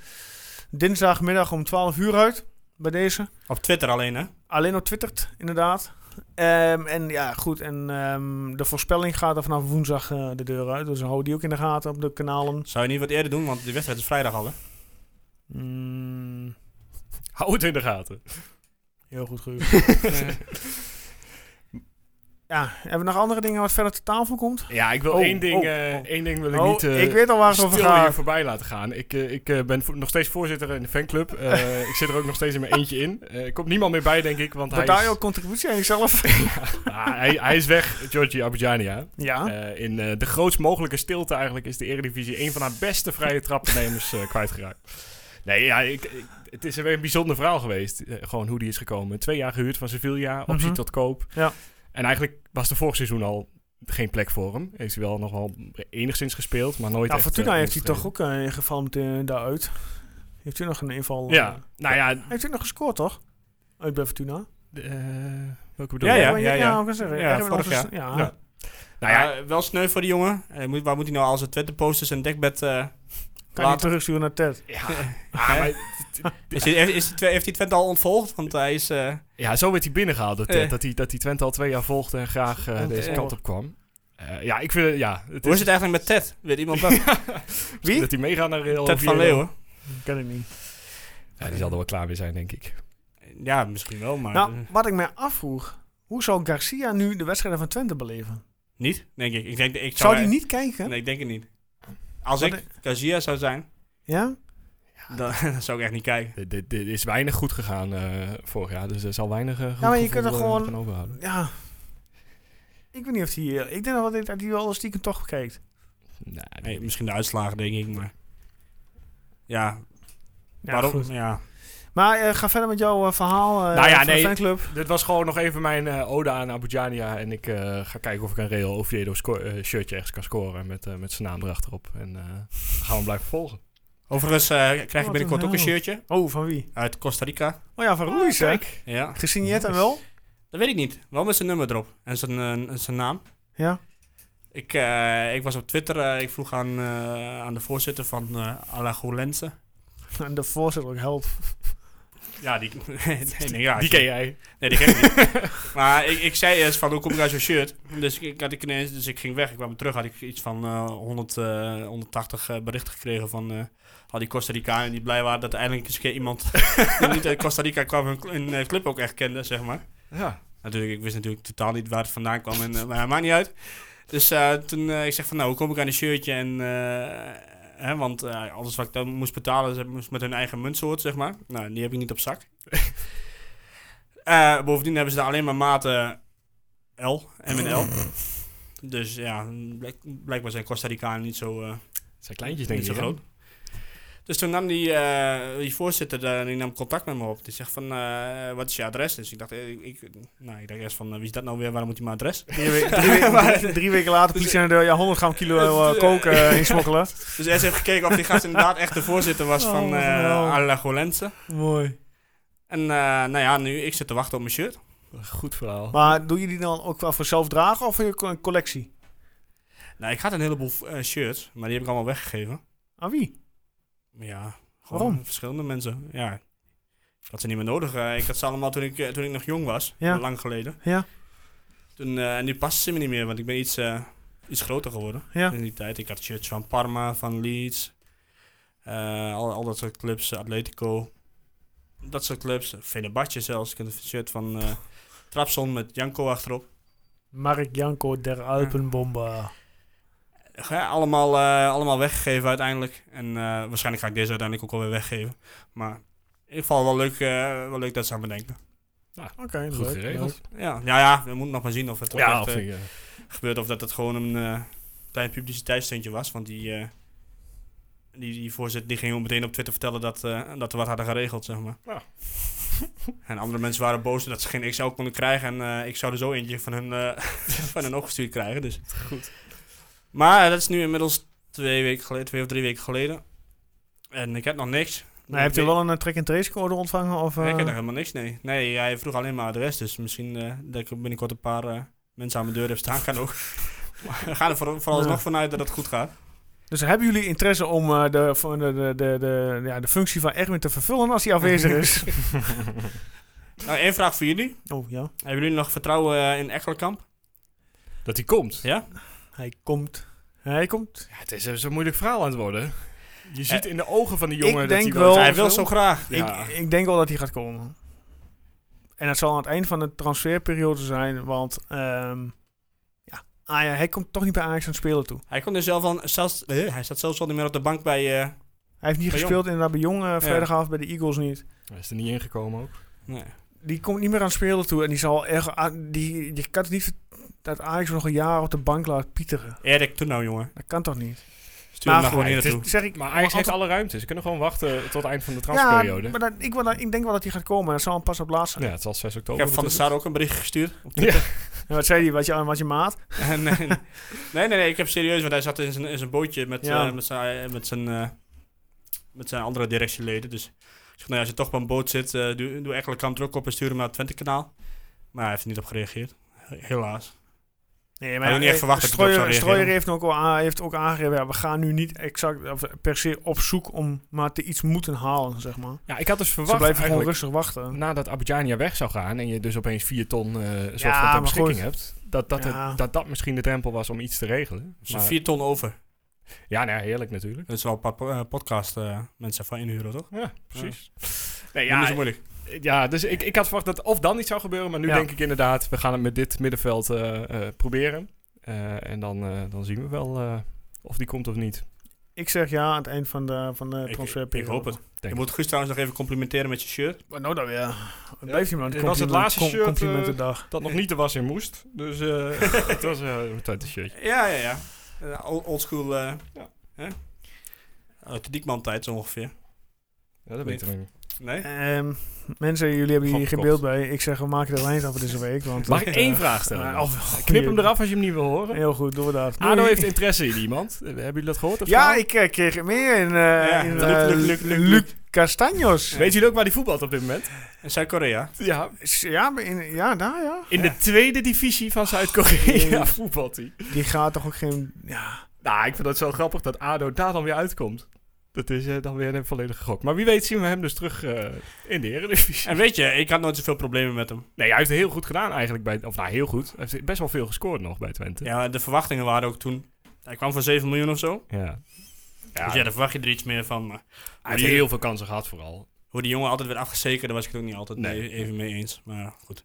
[SPEAKER 1] dinsdagmiddag om 12 uur uit. Bij deze.
[SPEAKER 3] Op Twitter alleen, hè?
[SPEAKER 1] Alleen op twittert, inderdaad. Ehm, en ja, goed. En ehm, de voorspelling gaat er vanaf woensdag eh, de deur uit. Dus hou die ook in de gaten op de kanalen.
[SPEAKER 3] Zou je niet wat eerder doen, want die wedstrijd is vrijdag al, hè?
[SPEAKER 1] Mm,
[SPEAKER 2] Hou het in de gaten.
[SPEAKER 1] heel goed, Guus. ja, hebben we nog andere dingen wat verder te tafel komt?
[SPEAKER 2] Ja, ik wil
[SPEAKER 1] Oh,
[SPEAKER 2] één ding,
[SPEAKER 1] oh,
[SPEAKER 2] eh,
[SPEAKER 1] oh.
[SPEAKER 2] één ding wil ik
[SPEAKER 1] oh,
[SPEAKER 2] niet... eh,
[SPEAKER 1] ik weet al waar het over
[SPEAKER 2] stil hier
[SPEAKER 1] gaat.
[SPEAKER 2] voorbij laten gaan. Ik, eh, ik eh, ben vo- nog steeds voorzitter in de fanclub. Eh, ik zit er ook nog steeds in mijn eentje in. Eh, er komt niemand meer bij, denk ik, want hij
[SPEAKER 1] Betaal je
[SPEAKER 2] is,
[SPEAKER 1] ook contributie aan jezelf?
[SPEAKER 2] Ah, hij, hij is weg, Giorgi Abidjania.
[SPEAKER 1] ja. Nou,
[SPEAKER 2] Eh, in eh, de grootst mogelijke stilte eigenlijk is de Eredivisie een van haar beste vrije trapnemers eh, kwijtgeraakt. Nee, ja, ik, ik- het is weer een bijzonder verhaal geweest. eh, gewoon hoe die is gekomen. Twee jaar gehuurd van Sevilla, optie
[SPEAKER 1] Mhm.
[SPEAKER 2] tot koop.
[SPEAKER 1] Ja.
[SPEAKER 2] En eigenlijk was er vorig seizoen al geen plek voor hem. Heeft hij wel nog wel enigszins gespeeld, maar nooit
[SPEAKER 1] Nou,
[SPEAKER 2] echt...
[SPEAKER 1] Fortuna
[SPEAKER 2] eh,
[SPEAKER 1] heeft hij
[SPEAKER 2] opgetreden.
[SPEAKER 1] toch ook eh gefalmd eh, daaruit. Heeft u nog een inval? eh,
[SPEAKER 2] Ja, nou ja,
[SPEAKER 1] heeft u nog gescoord, toch? Uit bij Fortuna?
[SPEAKER 2] eh, welke bedoel
[SPEAKER 3] Ja,
[SPEAKER 2] je?
[SPEAKER 3] ja.
[SPEAKER 1] Oh, ja, ik kan zeggen.
[SPEAKER 3] Ja,
[SPEAKER 1] Erwin
[SPEAKER 3] vorig
[SPEAKER 1] Anders-
[SPEAKER 3] jaar.
[SPEAKER 1] Ja.
[SPEAKER 2] Ja. Nou
[SPEAKER 3] Nou
[SPEAKER 2] ja,
[SPEAKER 3] ja, wel sneu voor die jongen. Hij moet, waar moet hij nou al zijn Twitter-posters en dekbed... eh
[SPEAKER 1] Kan je
[SPEAKER 3] Later.
[SPEAKER 1] terugsturen naar Ted?
[SPEAKER 2] ja. Ah, maar het- het-
[SPEAKER 3] is hij, is hij, heeft hij Twente al ontvolgd? Want hij is... eh,
[SPEAKER 2] Ja, zo werd hij binnengehaald. Dat, Ted,
[SPEAKER 3] Eh.
[SPEAKER 2] dat, hij, dat hij Twente al twee jaar volgde en graag eh,
[SPEAKER 1] Oh,
[SPEAKER 2] deze
[SPEAKER 1] eh.
[SPEAKER 2] kant op kwam. Eh, ja, ik vind het- ja, het
[SPEAKER 3] hoe is het eigenlijk met Ted? Weet iemand dat?
[SPEAKER 1] Wie?
[SPEAKER 2] dat hij meegaat naar Real.
[SPEAKER 3] Ted van
[SPEAKER 2] Oviedo.
[SPEAKER 3] Leeuwen?
[SPEAKER 1] Ken ik niet.
[SPEAKER 2] Ja, die zal er wel klaar mee zijn, denk ik.
[SPEAKER 3] Ja, misschien wel, maar... eh,
[SPEAKER 1] Nou, wat ik mij afvroeg. Hoe zou Garcia nu de wedstrijden van Twente beleven?
[SPEAKER 3] Niet, denk ik. ik, denk, ik
[SPEAKER 1] Zou die niet kijken?
[SPEAKER 3] Nee, ik denk het niet. Als
[SPEAKER 1] Wat
[SPEAKER 3] ik Kazia zou zijn,
[SPEAKER 1] Ja?
[SPEAKER 3] dan, dan zou ik echt niet kijken.
[SPEAKER 2] Eh, Dit, dit, dit is weinig goed gegaan eh, vorig jaar, dus er zal weinig eh, goed
[SPEAKER 1] maar je
[SPEAKER 2] gevoel,
[SPEAKER 1] kunt er
[SPEAKER 2] eh,
[SPEAKER 1] gewoon-
[SPEAKER 2] van overhouden.
[SPEAKER 1] Ja. Ik weet niet of hij... eh, Ik denk wel dat hij wel stiekem toch kijkt.
[SPEAKER 2] Nee,
[SPEAKER 3] Nee, misschien de uitslagen, denk ik, maar... Ja,
[SPEAKER 1] Ja,
[SPEAKER 3] waarom?
[SPEAKER 1] goed.
[SPEAKER 3] Ja.
[SPEAKER 1] Maar eh, ga verder met jouw eh, verhaal eh
[SPEAKER 2] Nou ja,
[SPEAKER 1] van de
[SPEAKER 2] nee.
[SPEAKER 1] fanclub.
[SPEAKER 2] Dit was gewoon nog even mijn eh, ode aan Abujania. En ik eh, ga kijken of ik een Real Oviedo sco- eh, shirtje ergens kan scoren. Met, eh, met zijn naam erachterop. En eh, dan gaan we hem blijven volgen.
[SPEAKER 3] Overigens eh, krijg
[SPEAKER 1] een
[SPEAKER 3] je binnenkort ook een
[SPEAKER 1] hel.
[SPEAKER 3] shirtje
[SPEAKER 1] Oh, van wie?
[SPEAKER 3] uit Costa Rica.
[SPEAKER 1] Oh ja, van Ruiz, hè?
[SPEAKER 2] Kijk.
[SPEAKER 3] Ja,
[SPEAKER 1] Gesigneerd en wel?
[SPEAKER 3] dat weet ik niet. Wel met zijn nummer erop en zijn, eh, zijn naam.
[SPEAKER 1] Ja.
[SPEAKER 3] Ik, eh, ik was op Twitter, eh, ik vroeg aan, eh, aan de voorzitter van eh Alagolense.
[SPEAKER 1] En de voorzitter ook help.
[SPEAKER 3] Ja, die, nee, nee, ja,
[SPEAKER 2] Die
[SPEAKER 3] ik-
[SPEAKER 2] ken jij.
[SPEAKER 3] Nee, die ken ik niet. maar ik, ik zei eerst van, hoe kom ik uit zo'n shirt? Dus ik, ik had ik ineens, dus ik ging weg. Ik kwam terug, had ik iets van eh, 100, eh, 180 eh, berichten gekregen van eh, al die Costa Ricanen die blij waren dat eindelijk eens een keer iemand die niet uit Costa Rica kwam hun, hun, eh, club ook echt kende, zeg maar.
[SPEAKER 2] Ja.
[SPEAKER 3] Natuurlijk, ik wist natuurlijk totaal niet waar het vandaan kwam, en, eh, maar het maakt niet uit. Dus eh, toen eh, ik zeg van, nou, hoe kom ik aan een shirtje? En, eh, hè, want eh, alles wat ik dan moest betalen, ze moest met hun eigen muntsoort, zeg maar. Nou, die heb ik niet op zak. Eh, bovendien hebben ze daar alleen maar maten L, M en L. Dus ja, blijk- blijkbaar zijn Costa Ricanen niet zo... eh,
[SPEAKER 2] Het zijn kleintjes denk ik.
[SPEAKER 3] niet zo
[SPEAKER 2] hè?
[SPEAKER 3] groot. Dus toen nam die, eh, die voorzitter daar, die nam contact met me op. Die zegt van, eh, wat is je adres? Dus ik dacht, eh, ik, ik- nou, ik dacht eerst van, eh, wie is dat nou weer? Waarom moet hij mijn adres?
[SPEAKER 1] Drie, we- drie we- drie- drie weken later politie aan de deur. Dus- Ja, 100 gram kilo eh, kook eh, insmokkelen.
[SPEAKER 3] Dus eerst even gekeken of die gast inderdaad echt de voorzitter was
[SPEAKER 1] Oh,
[SPEAKER 3] van
[SPEAKER 1] wat een
[SPEAKER 3] eh
[SPEAKER 1] hel.
[SPEAKER 3] Alagolense.
[SPEAKER 1] Mooi.
[SPEAKER 3] En eh, nou ja, nu, ik zit te wachten op mijn shirt.
[SPEAKER 2] Goed verhaal.
[SPEAKER 1] Maar doe je die dan ook wel voor zelf dragen of voor je co- een collectie?
[SPEAKER 3] Nou, ik had een heleboel eh, shirts, maar die heb ik allemaal weggegeven.
[SPEAKER 1] Aan wie?
[SPEAKER 3] Maar ja, gewoon
[SPEAKER 1] Waarom?
[SPEAKER 3] verschillende mensen. Ja, ik had ze niet meer nodig. Eh, ik had ze allemaal toen ik, eh, toen ik nog jong was,
[SPEAKER 1] Ja.
[SPEAKER 3] lang geleden.
[SPEAKER 1] Ja.
[SPEAKER 3] Toen, eh, en nu passen ze me niet meer, want ik ben iets, eh, iets groter geworden
[SPEAKER 1] Ja.
[SPEAKER 3] in die tijd. Ik had shirts van Parma, van Leeds, eh, al, al dat soort clubs, eh, Atletico, dat soort clubs. Fenerbahce zelfs, ik had een shirt van eh Trabzon met Janko achterop.
[SPEAKER 1] Mark Janko der Alpenbomba.
[SPEAKER 3] Ja, allemaal, eh, allemaal weggegeven uiteindelijk. En eh, waarschijnlijk ga ik deze uiteindelijk ook alweer weggeven. Maar in ieder geval wel leuk, eh, wel leuk dat ze aan me denken.
[SPEAKER 1] Oké,
[SPEAKER 2] Goed
[SPEAKER 1] leuk,
[SPEAKER 2] geregeld.
[SPEAKER 3] Ja, ja, ja, we moeten nog maar zien of het ook
[SPEAKER 2] Ja,
[SPEAKER 3] echt,
[SPEAKER 2] of
[SPEAKER 3] eh,
[SPEAKER 2] ik, eh,
[SPEAKER 3] gebeurt. Of dat het gewoon een eh, klein publiciteitsstuntje was. Want die, eh, die, die voorzitter die ging ook meteen op Twitter vertellen dat, eh, dat we wat hadden geregeld, zeg maar.
[SPEAKER 2] Ja.
[SPEAKER 3] en andere mensen waren boos dat ze geen XL konden krijgen. En eh, ik zou er zo eentje van hun, eh, van hun opgestuurd krijgen. Dus. Goed. Maar eh, dat is nu inmiddels twee, weken geleden, twee of drie weken geleden. En ik heb nog niks.
[SPEAKER 1] Maar heb je wel een eh, track-and-trace code ontvangen? Of, eh,
[SPEAKER 3] Nee, ik heb nog helemaal niks, nee. Nee, hij vroeg alleen maar adres, dus misschien eh, dat ik binnenkort een paar eh, mensen aan mijn deur heb staan, kan ook. maar we gaan er voor, vooralsnog
[SPEAKER 1] Ja.
[SPEAKER 3] vanuit dat het goed gaat.
[SPEAKER 1] Dus hebben jullie interesse om eh, de, van de, de, de, de, ja, de functie van Erwin te vervullen als hij afwezig is?
[SPEAKER 3] Nou, één vraag voor jullie.
[SPEAKER 1] oh ja,
[SPEAKER 3] Hebben jullie nog vertrouwen eh, in Ekkelkamp?
[SPEAKER 2] dat hij komt.
[SPEAKER 3] Ja?
[SPEAKER 1] hij komt. Hij komt.
[SPEAKER 2] Ja, het is eh, zo'n moeilijk verhaal aan het worden. Je ziet in de ogen van die jongen
[SPEAKER 1] ik
[SPEAKER 2] dat
[SPEAKER 1] denk
[SPEAKER 2] hij Eh, wel...
[SPEAKER 1] wel-
[SPEAKER 3] hij wil zo graag.
[SPEAKER 2] Ja.
[SPEAKER 1] Ik, ik denk wel dat hij gaat komen. En dat zal aan het eind van de transferperiode zijn, want ehm, ja, ah, ja, hij komt toch niet bij Ajax aan het spelen toe.
[SPEAKER 3] Hij komt er zelf al, zelfs, eh, hij staat zelfs al niet meer op de bank bij... eh,
[SPEAKER 1] Hij heeft niet
[SPEAKER 3] Bij
[SPEAKER 1] gespeeld inderdaad bij Jong eh, vrijdagavond, bij de Eagles niet.
[SPEAKER 2] Hij is er niet ingekomen ook.
[SPEAKER 3] nee.
[SPEAKER 1] Die komt niet meer aan het spelen toe en die zal erg... ah, die, je kan het niet ver- dat Ajax nog een jaar op de bank laat pieteren.
[SPEAKER 3] Erik, toen nou jongen.
[SPEAKER 1] Dat kan toch niet?
[SPEAKER 3] Stuur hem
[SPEAKER 1] Maar
[SPEAKER 3] nou gewoon
[SPEAKER 1] goed,
[SPEAKER 3] hier
[SPEAKER 2] het is-
[SPEAKER 3] naartoe.
[SPEAKER 1] Zeg ik,
[SPEAKER 2] Maar Ajax heeft alle ruimte. Ze kunnen gewoon wachten tot het eind van de
[SPEAKER 1] Ja,
[SPEAKER 2] transperiode. Ja,
[SPEAKER 1] maar dat, ik, wil dat- ik denk wel dat hij gaat komen. Dat zal hem pas op laatst zijn.
[SPEAKER 2] het zal 6
[SPEAKER 3] Ik
[SPEAKER 2] oktober
[SPEAKER 3] heb Van der Sar ook een bericht gestuurd.
[SPEAKER 1] En wat zei hij? Wat je, wat je maat?
[SPEAKER 3] En, eh, nee, nee, nee, ik heb serieus, want hij zat in zijn, in zijn bootje met,
[SPEAKER 1] Ja.
[SPEAKER 3] eh, met, zijn, met, zijn, eh, met zijn andere directieleden. Dus ik zeg, nou, ja, als je toch bij een boot zit, eh, doe, doe enkele kant er ook op en stuur hem naar het Twente-kanaal. Maar hij heeft er niet op gereageerd. Helaas.
[SPEAKER 1] Nee,
[SPEAKER 3] Had ik niet echt verwacht dat hij erop zou
[SPEAKER 1] Strooier,
[SPEAKER 3] reageren.
[SPEAKER 1] Strooier heeft ook al aan- heeft ook aangegeven, ja, we gaan nu niet exact of per se op zoek om maar te iets moeten halen, zeg maar.
[SPEAKER 2] Ja, ik had dus
[SPEAKER 1] Ze
[SPEAKER 2] verwacht
[SPEAKER 1] blijven gewoon
[SPEAKER 2] eigenlijk
[SPEAKER 1] rustig wachten.
[SPEAKER 2] nadat Abidjania weg zou gaan en je dus opeens 4 ton eh soort
[SPEAKER 1] Ja,
[SPEAKER 2] van
[SPEAKER 1] maar
[SPEAKER 2] ter beschikking
[SPEAKER 1] goed.
[SPEAKER 2] hebt, dat dat, het-
[SPEAKER 1] Ja.
[SPEAKER 2] dat dat misschien de drempel was om iets te regelen.
[SPEAKER 3] Dus
[SPEAKER 2] Maar-
[SPEAKER 3] vier ton over.
[SPEAKER 2] ja, nou, ja, heerlijk natuurlijk.
[SPEAKER 3] Dat is wel een paar po- eh, podcast eh, mensen van inhuren, toch?
[SPEAKER 2] Ja, precies. Nee,
[SPEAKER 3] Ja, dat is
[SPEAKER 2] ja,
[SPEAKER 3] moeilijk.
[SPEAKER 2] ja, dus ik, ik had verwacht dat of dan iets zou gebeuren, maar nu
[SPEAKER 1] Ja.
[SPEAKER 2] denk ik inderdaad, we gaan het met dit middenveld eh, eh, proberen. Eh, en dan, eh, dan zien we wel eh, of die komt of niet.
[SPEAKER 1] Ik zeg ja aan het eind van de, van de
[SPEAKER 3] Ik, ik
[SPEAKER 1] transferperiode.
[SPEAKER 3] hoop het.
[SPEAKER 2] Denk
[SPEAKER 3] Je moet Guus trouwens nog even complimenteren met je shirt.
[SPEAKER 1] Maar nou dan weer. Wat Blijft hij maar een
[SPEAKER 2] dit was
[SPEAKER 1] compliment-
[SPEAKER 2] het laatste
[SPEAKER 1] com-
[SPEAKER 2] shirt, eh,
[SPEAKER 1] complimentendag.
[SPEAKER 2] Dat nog niet de was in moest. Dus eh, het was eh, een tante shirtje.
[SPEAKER 3] Ja, ja, ja. Eh, ol- Oldschool. eh hè? Uit de Diekman tijd zo ongeveer.
[SPEAKER 2] Ja, dat
[SPEAKER 3] weten
[SPEAKER 2] weten we niet.
[SPEAKER 3] Nee?
[SPEAKER 2] eh,
[SPEAKER 1] Ehm, mensen, jullie hebben hier
[SPEAKER 2] Gewoon
[SPEAKER 1] geen beeld bij. Ik zeg, we maken de lijn af voor deze week. Want,
[SPEAKER 2] Mag ik
[SPEAKER 1] eh,
[SPEAKER 2] één vraag stellen?
[SPEAKER 1] maar- oh,
[SPEAKER 2] Knip hem
[SPEAKER 1] goeie-
[SPEAKER 2] eraf als je hem niet wil horen.
[SPEAKER 1] Heel goed, door daar.
[SPEAKER 2] Ado
[SPEAKER 1] Doei.
[SPEAKER 2] heeft interesse in iemand. Eh, Hebben jullie dat gehoord? of
[SPEAKER 1] Ja,
[SPEAKER 2] verhaal?
[SPEAKER 1] ik eh, kreeg het meer in, eh in
[SPEAKER 3] Luc-
[SPEAKER 1] eh,
[SPEAKER 3] Luc- Luc- Luc-
[SPEAKER 1] Luc Castanjos.
[SPEAKER 2] Weet jullie ook waar die voetbalt op dit moment?
[SPEAKER 3] In Zuid-Korea.
[SPEAKER 2] Ja.
[SPEAKER 1] Ja, maar in, ja, daar ja.
[SPEAKER 2] In de tweede divisie van Zuid-Korea voetbalt hij.
[SPEAKER 1] Die gaat toch ook geen... Ja,
[SPEAKER 2] Nou, ik vind dat zo grappig dat Ado daar dan weer uitkomt. Dat is eh, dan weer een volledige gok. Maar wie weet zien we hem dus terug eh, in de Eredivisie.
[SPEAKER 3] En weet je, ik had nooit zoveel problemen met hem.
[SPEAKER 2] Nee, hij heeft het heel goed gedaan eigenlijk. Bij, of nou, heel goed. Hij heeft best wel veel gescoord nog bij Twente.
[SPEAKER 3] Ja, de verwachtingen waren ook toen. Hij kwam voor 7 miljoen of zo.
[SPEAKER 2] Ja. Ja,
[SPEAKER 3] Dus ja, daar verwacht je er iets meer van. Maar
[SPEAKER 2] hij heeft heel veel kansen gehad vooral.
[SPEAKER 3] hoe die jongen altijd werd afgezekerd, daar was ik het ook niet altijd
[SPEAKER 2] Nee.
[SPEAKER 3] mee- even mee eens. Maar goed.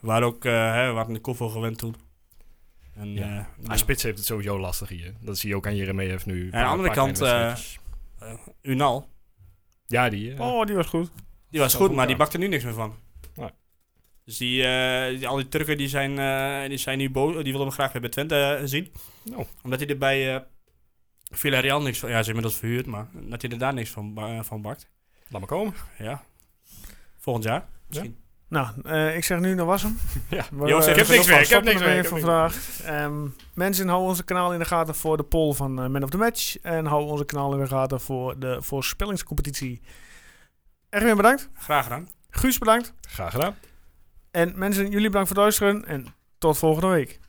[SPEAKER 3] We waren ook, eh, hè, we waren de koffel gewend toen. En,
[SPEAKER 2] Ja.
[SPEAKER 3] eh,
[SPEAKER 2] Maar Ah, spits heeft het sowieso lastig hier. Dat zie je ook aan Jeremejeff nu.
[SPEAKER 3] aan de andere
[SPEAKER 2] Een paar
[SPEAKER 3] kant,
[SPEAKER 2] kleine
[SPEAKER 3] eh,
[SPEAKER 2] wedstrijdjes.
[SPEAKER 3] eh, Unal,
[SPEAKER 2] ja, die. eh,
[SPEAKER 1] oh, die was goed.
[SPEAKER 3] die was
[SPEAKER 2] Zou
[SPEAKER 3] goed,
[SPEAKER 2] goed
[SPEAKER 3] maar die
[SPEAKER 2] gaan.
[SPEAKER 3] bakt er nu niks meer van.
[SPEAKER 2] Nee.
[SPEAKER 3] Dus die, eh, die- al die Turken die zijn, eh, die zijn nu boos, die willen hem graag weer bij Twente eh, zien.
[SPEAKER 2] Nou.
[SPEAKER 3] Omdat hij er bij eh Villarreal niks van, ja ze is inmiddels verhuurd, maar dat hij er daar niks van, ba- eh, van bakt.
[SPEAKER 2] Laat maar komen.
[SPEAKER 3] Ja, volgend jaar misschien.
[SPEAKER 1] Nou, eh, ik zeg nu, dat was hem.
[SPEAKER 2] Ja.
[SPEAKER 1] We,
[SPEAKER 3] Joost,
[SPEAKER 1] eh,
[SPEAKER 3] ik heb
[SPEAKER 1] we
[SPEAKER 2] niks meer, ik heb
[SPEAKER 1] stoppen
[SPEAKER 2] niks
[SPEAKER 1] ermee
[SPEAKER 2] meer, ik
[SPEAKER 1] voor
[SPEAKER 2] heb
[SPEAKER 1] vandaag. Ehm, mensen, hou onze kanaal in de gaten voor de poll van eh, Man of the Match. En hou onze kanaal in de gaten voor de voorspellingscompetitie. Erwin bedankt.
[SPEAKER 3] Graag gedaan.
[SPEAKER 1] Guus bedankt.
[SPEAKER 2] Graag gedaan.
[SPEAKER 1] En mensen, jullie bedankt voor het luisteren. En tot volgende week.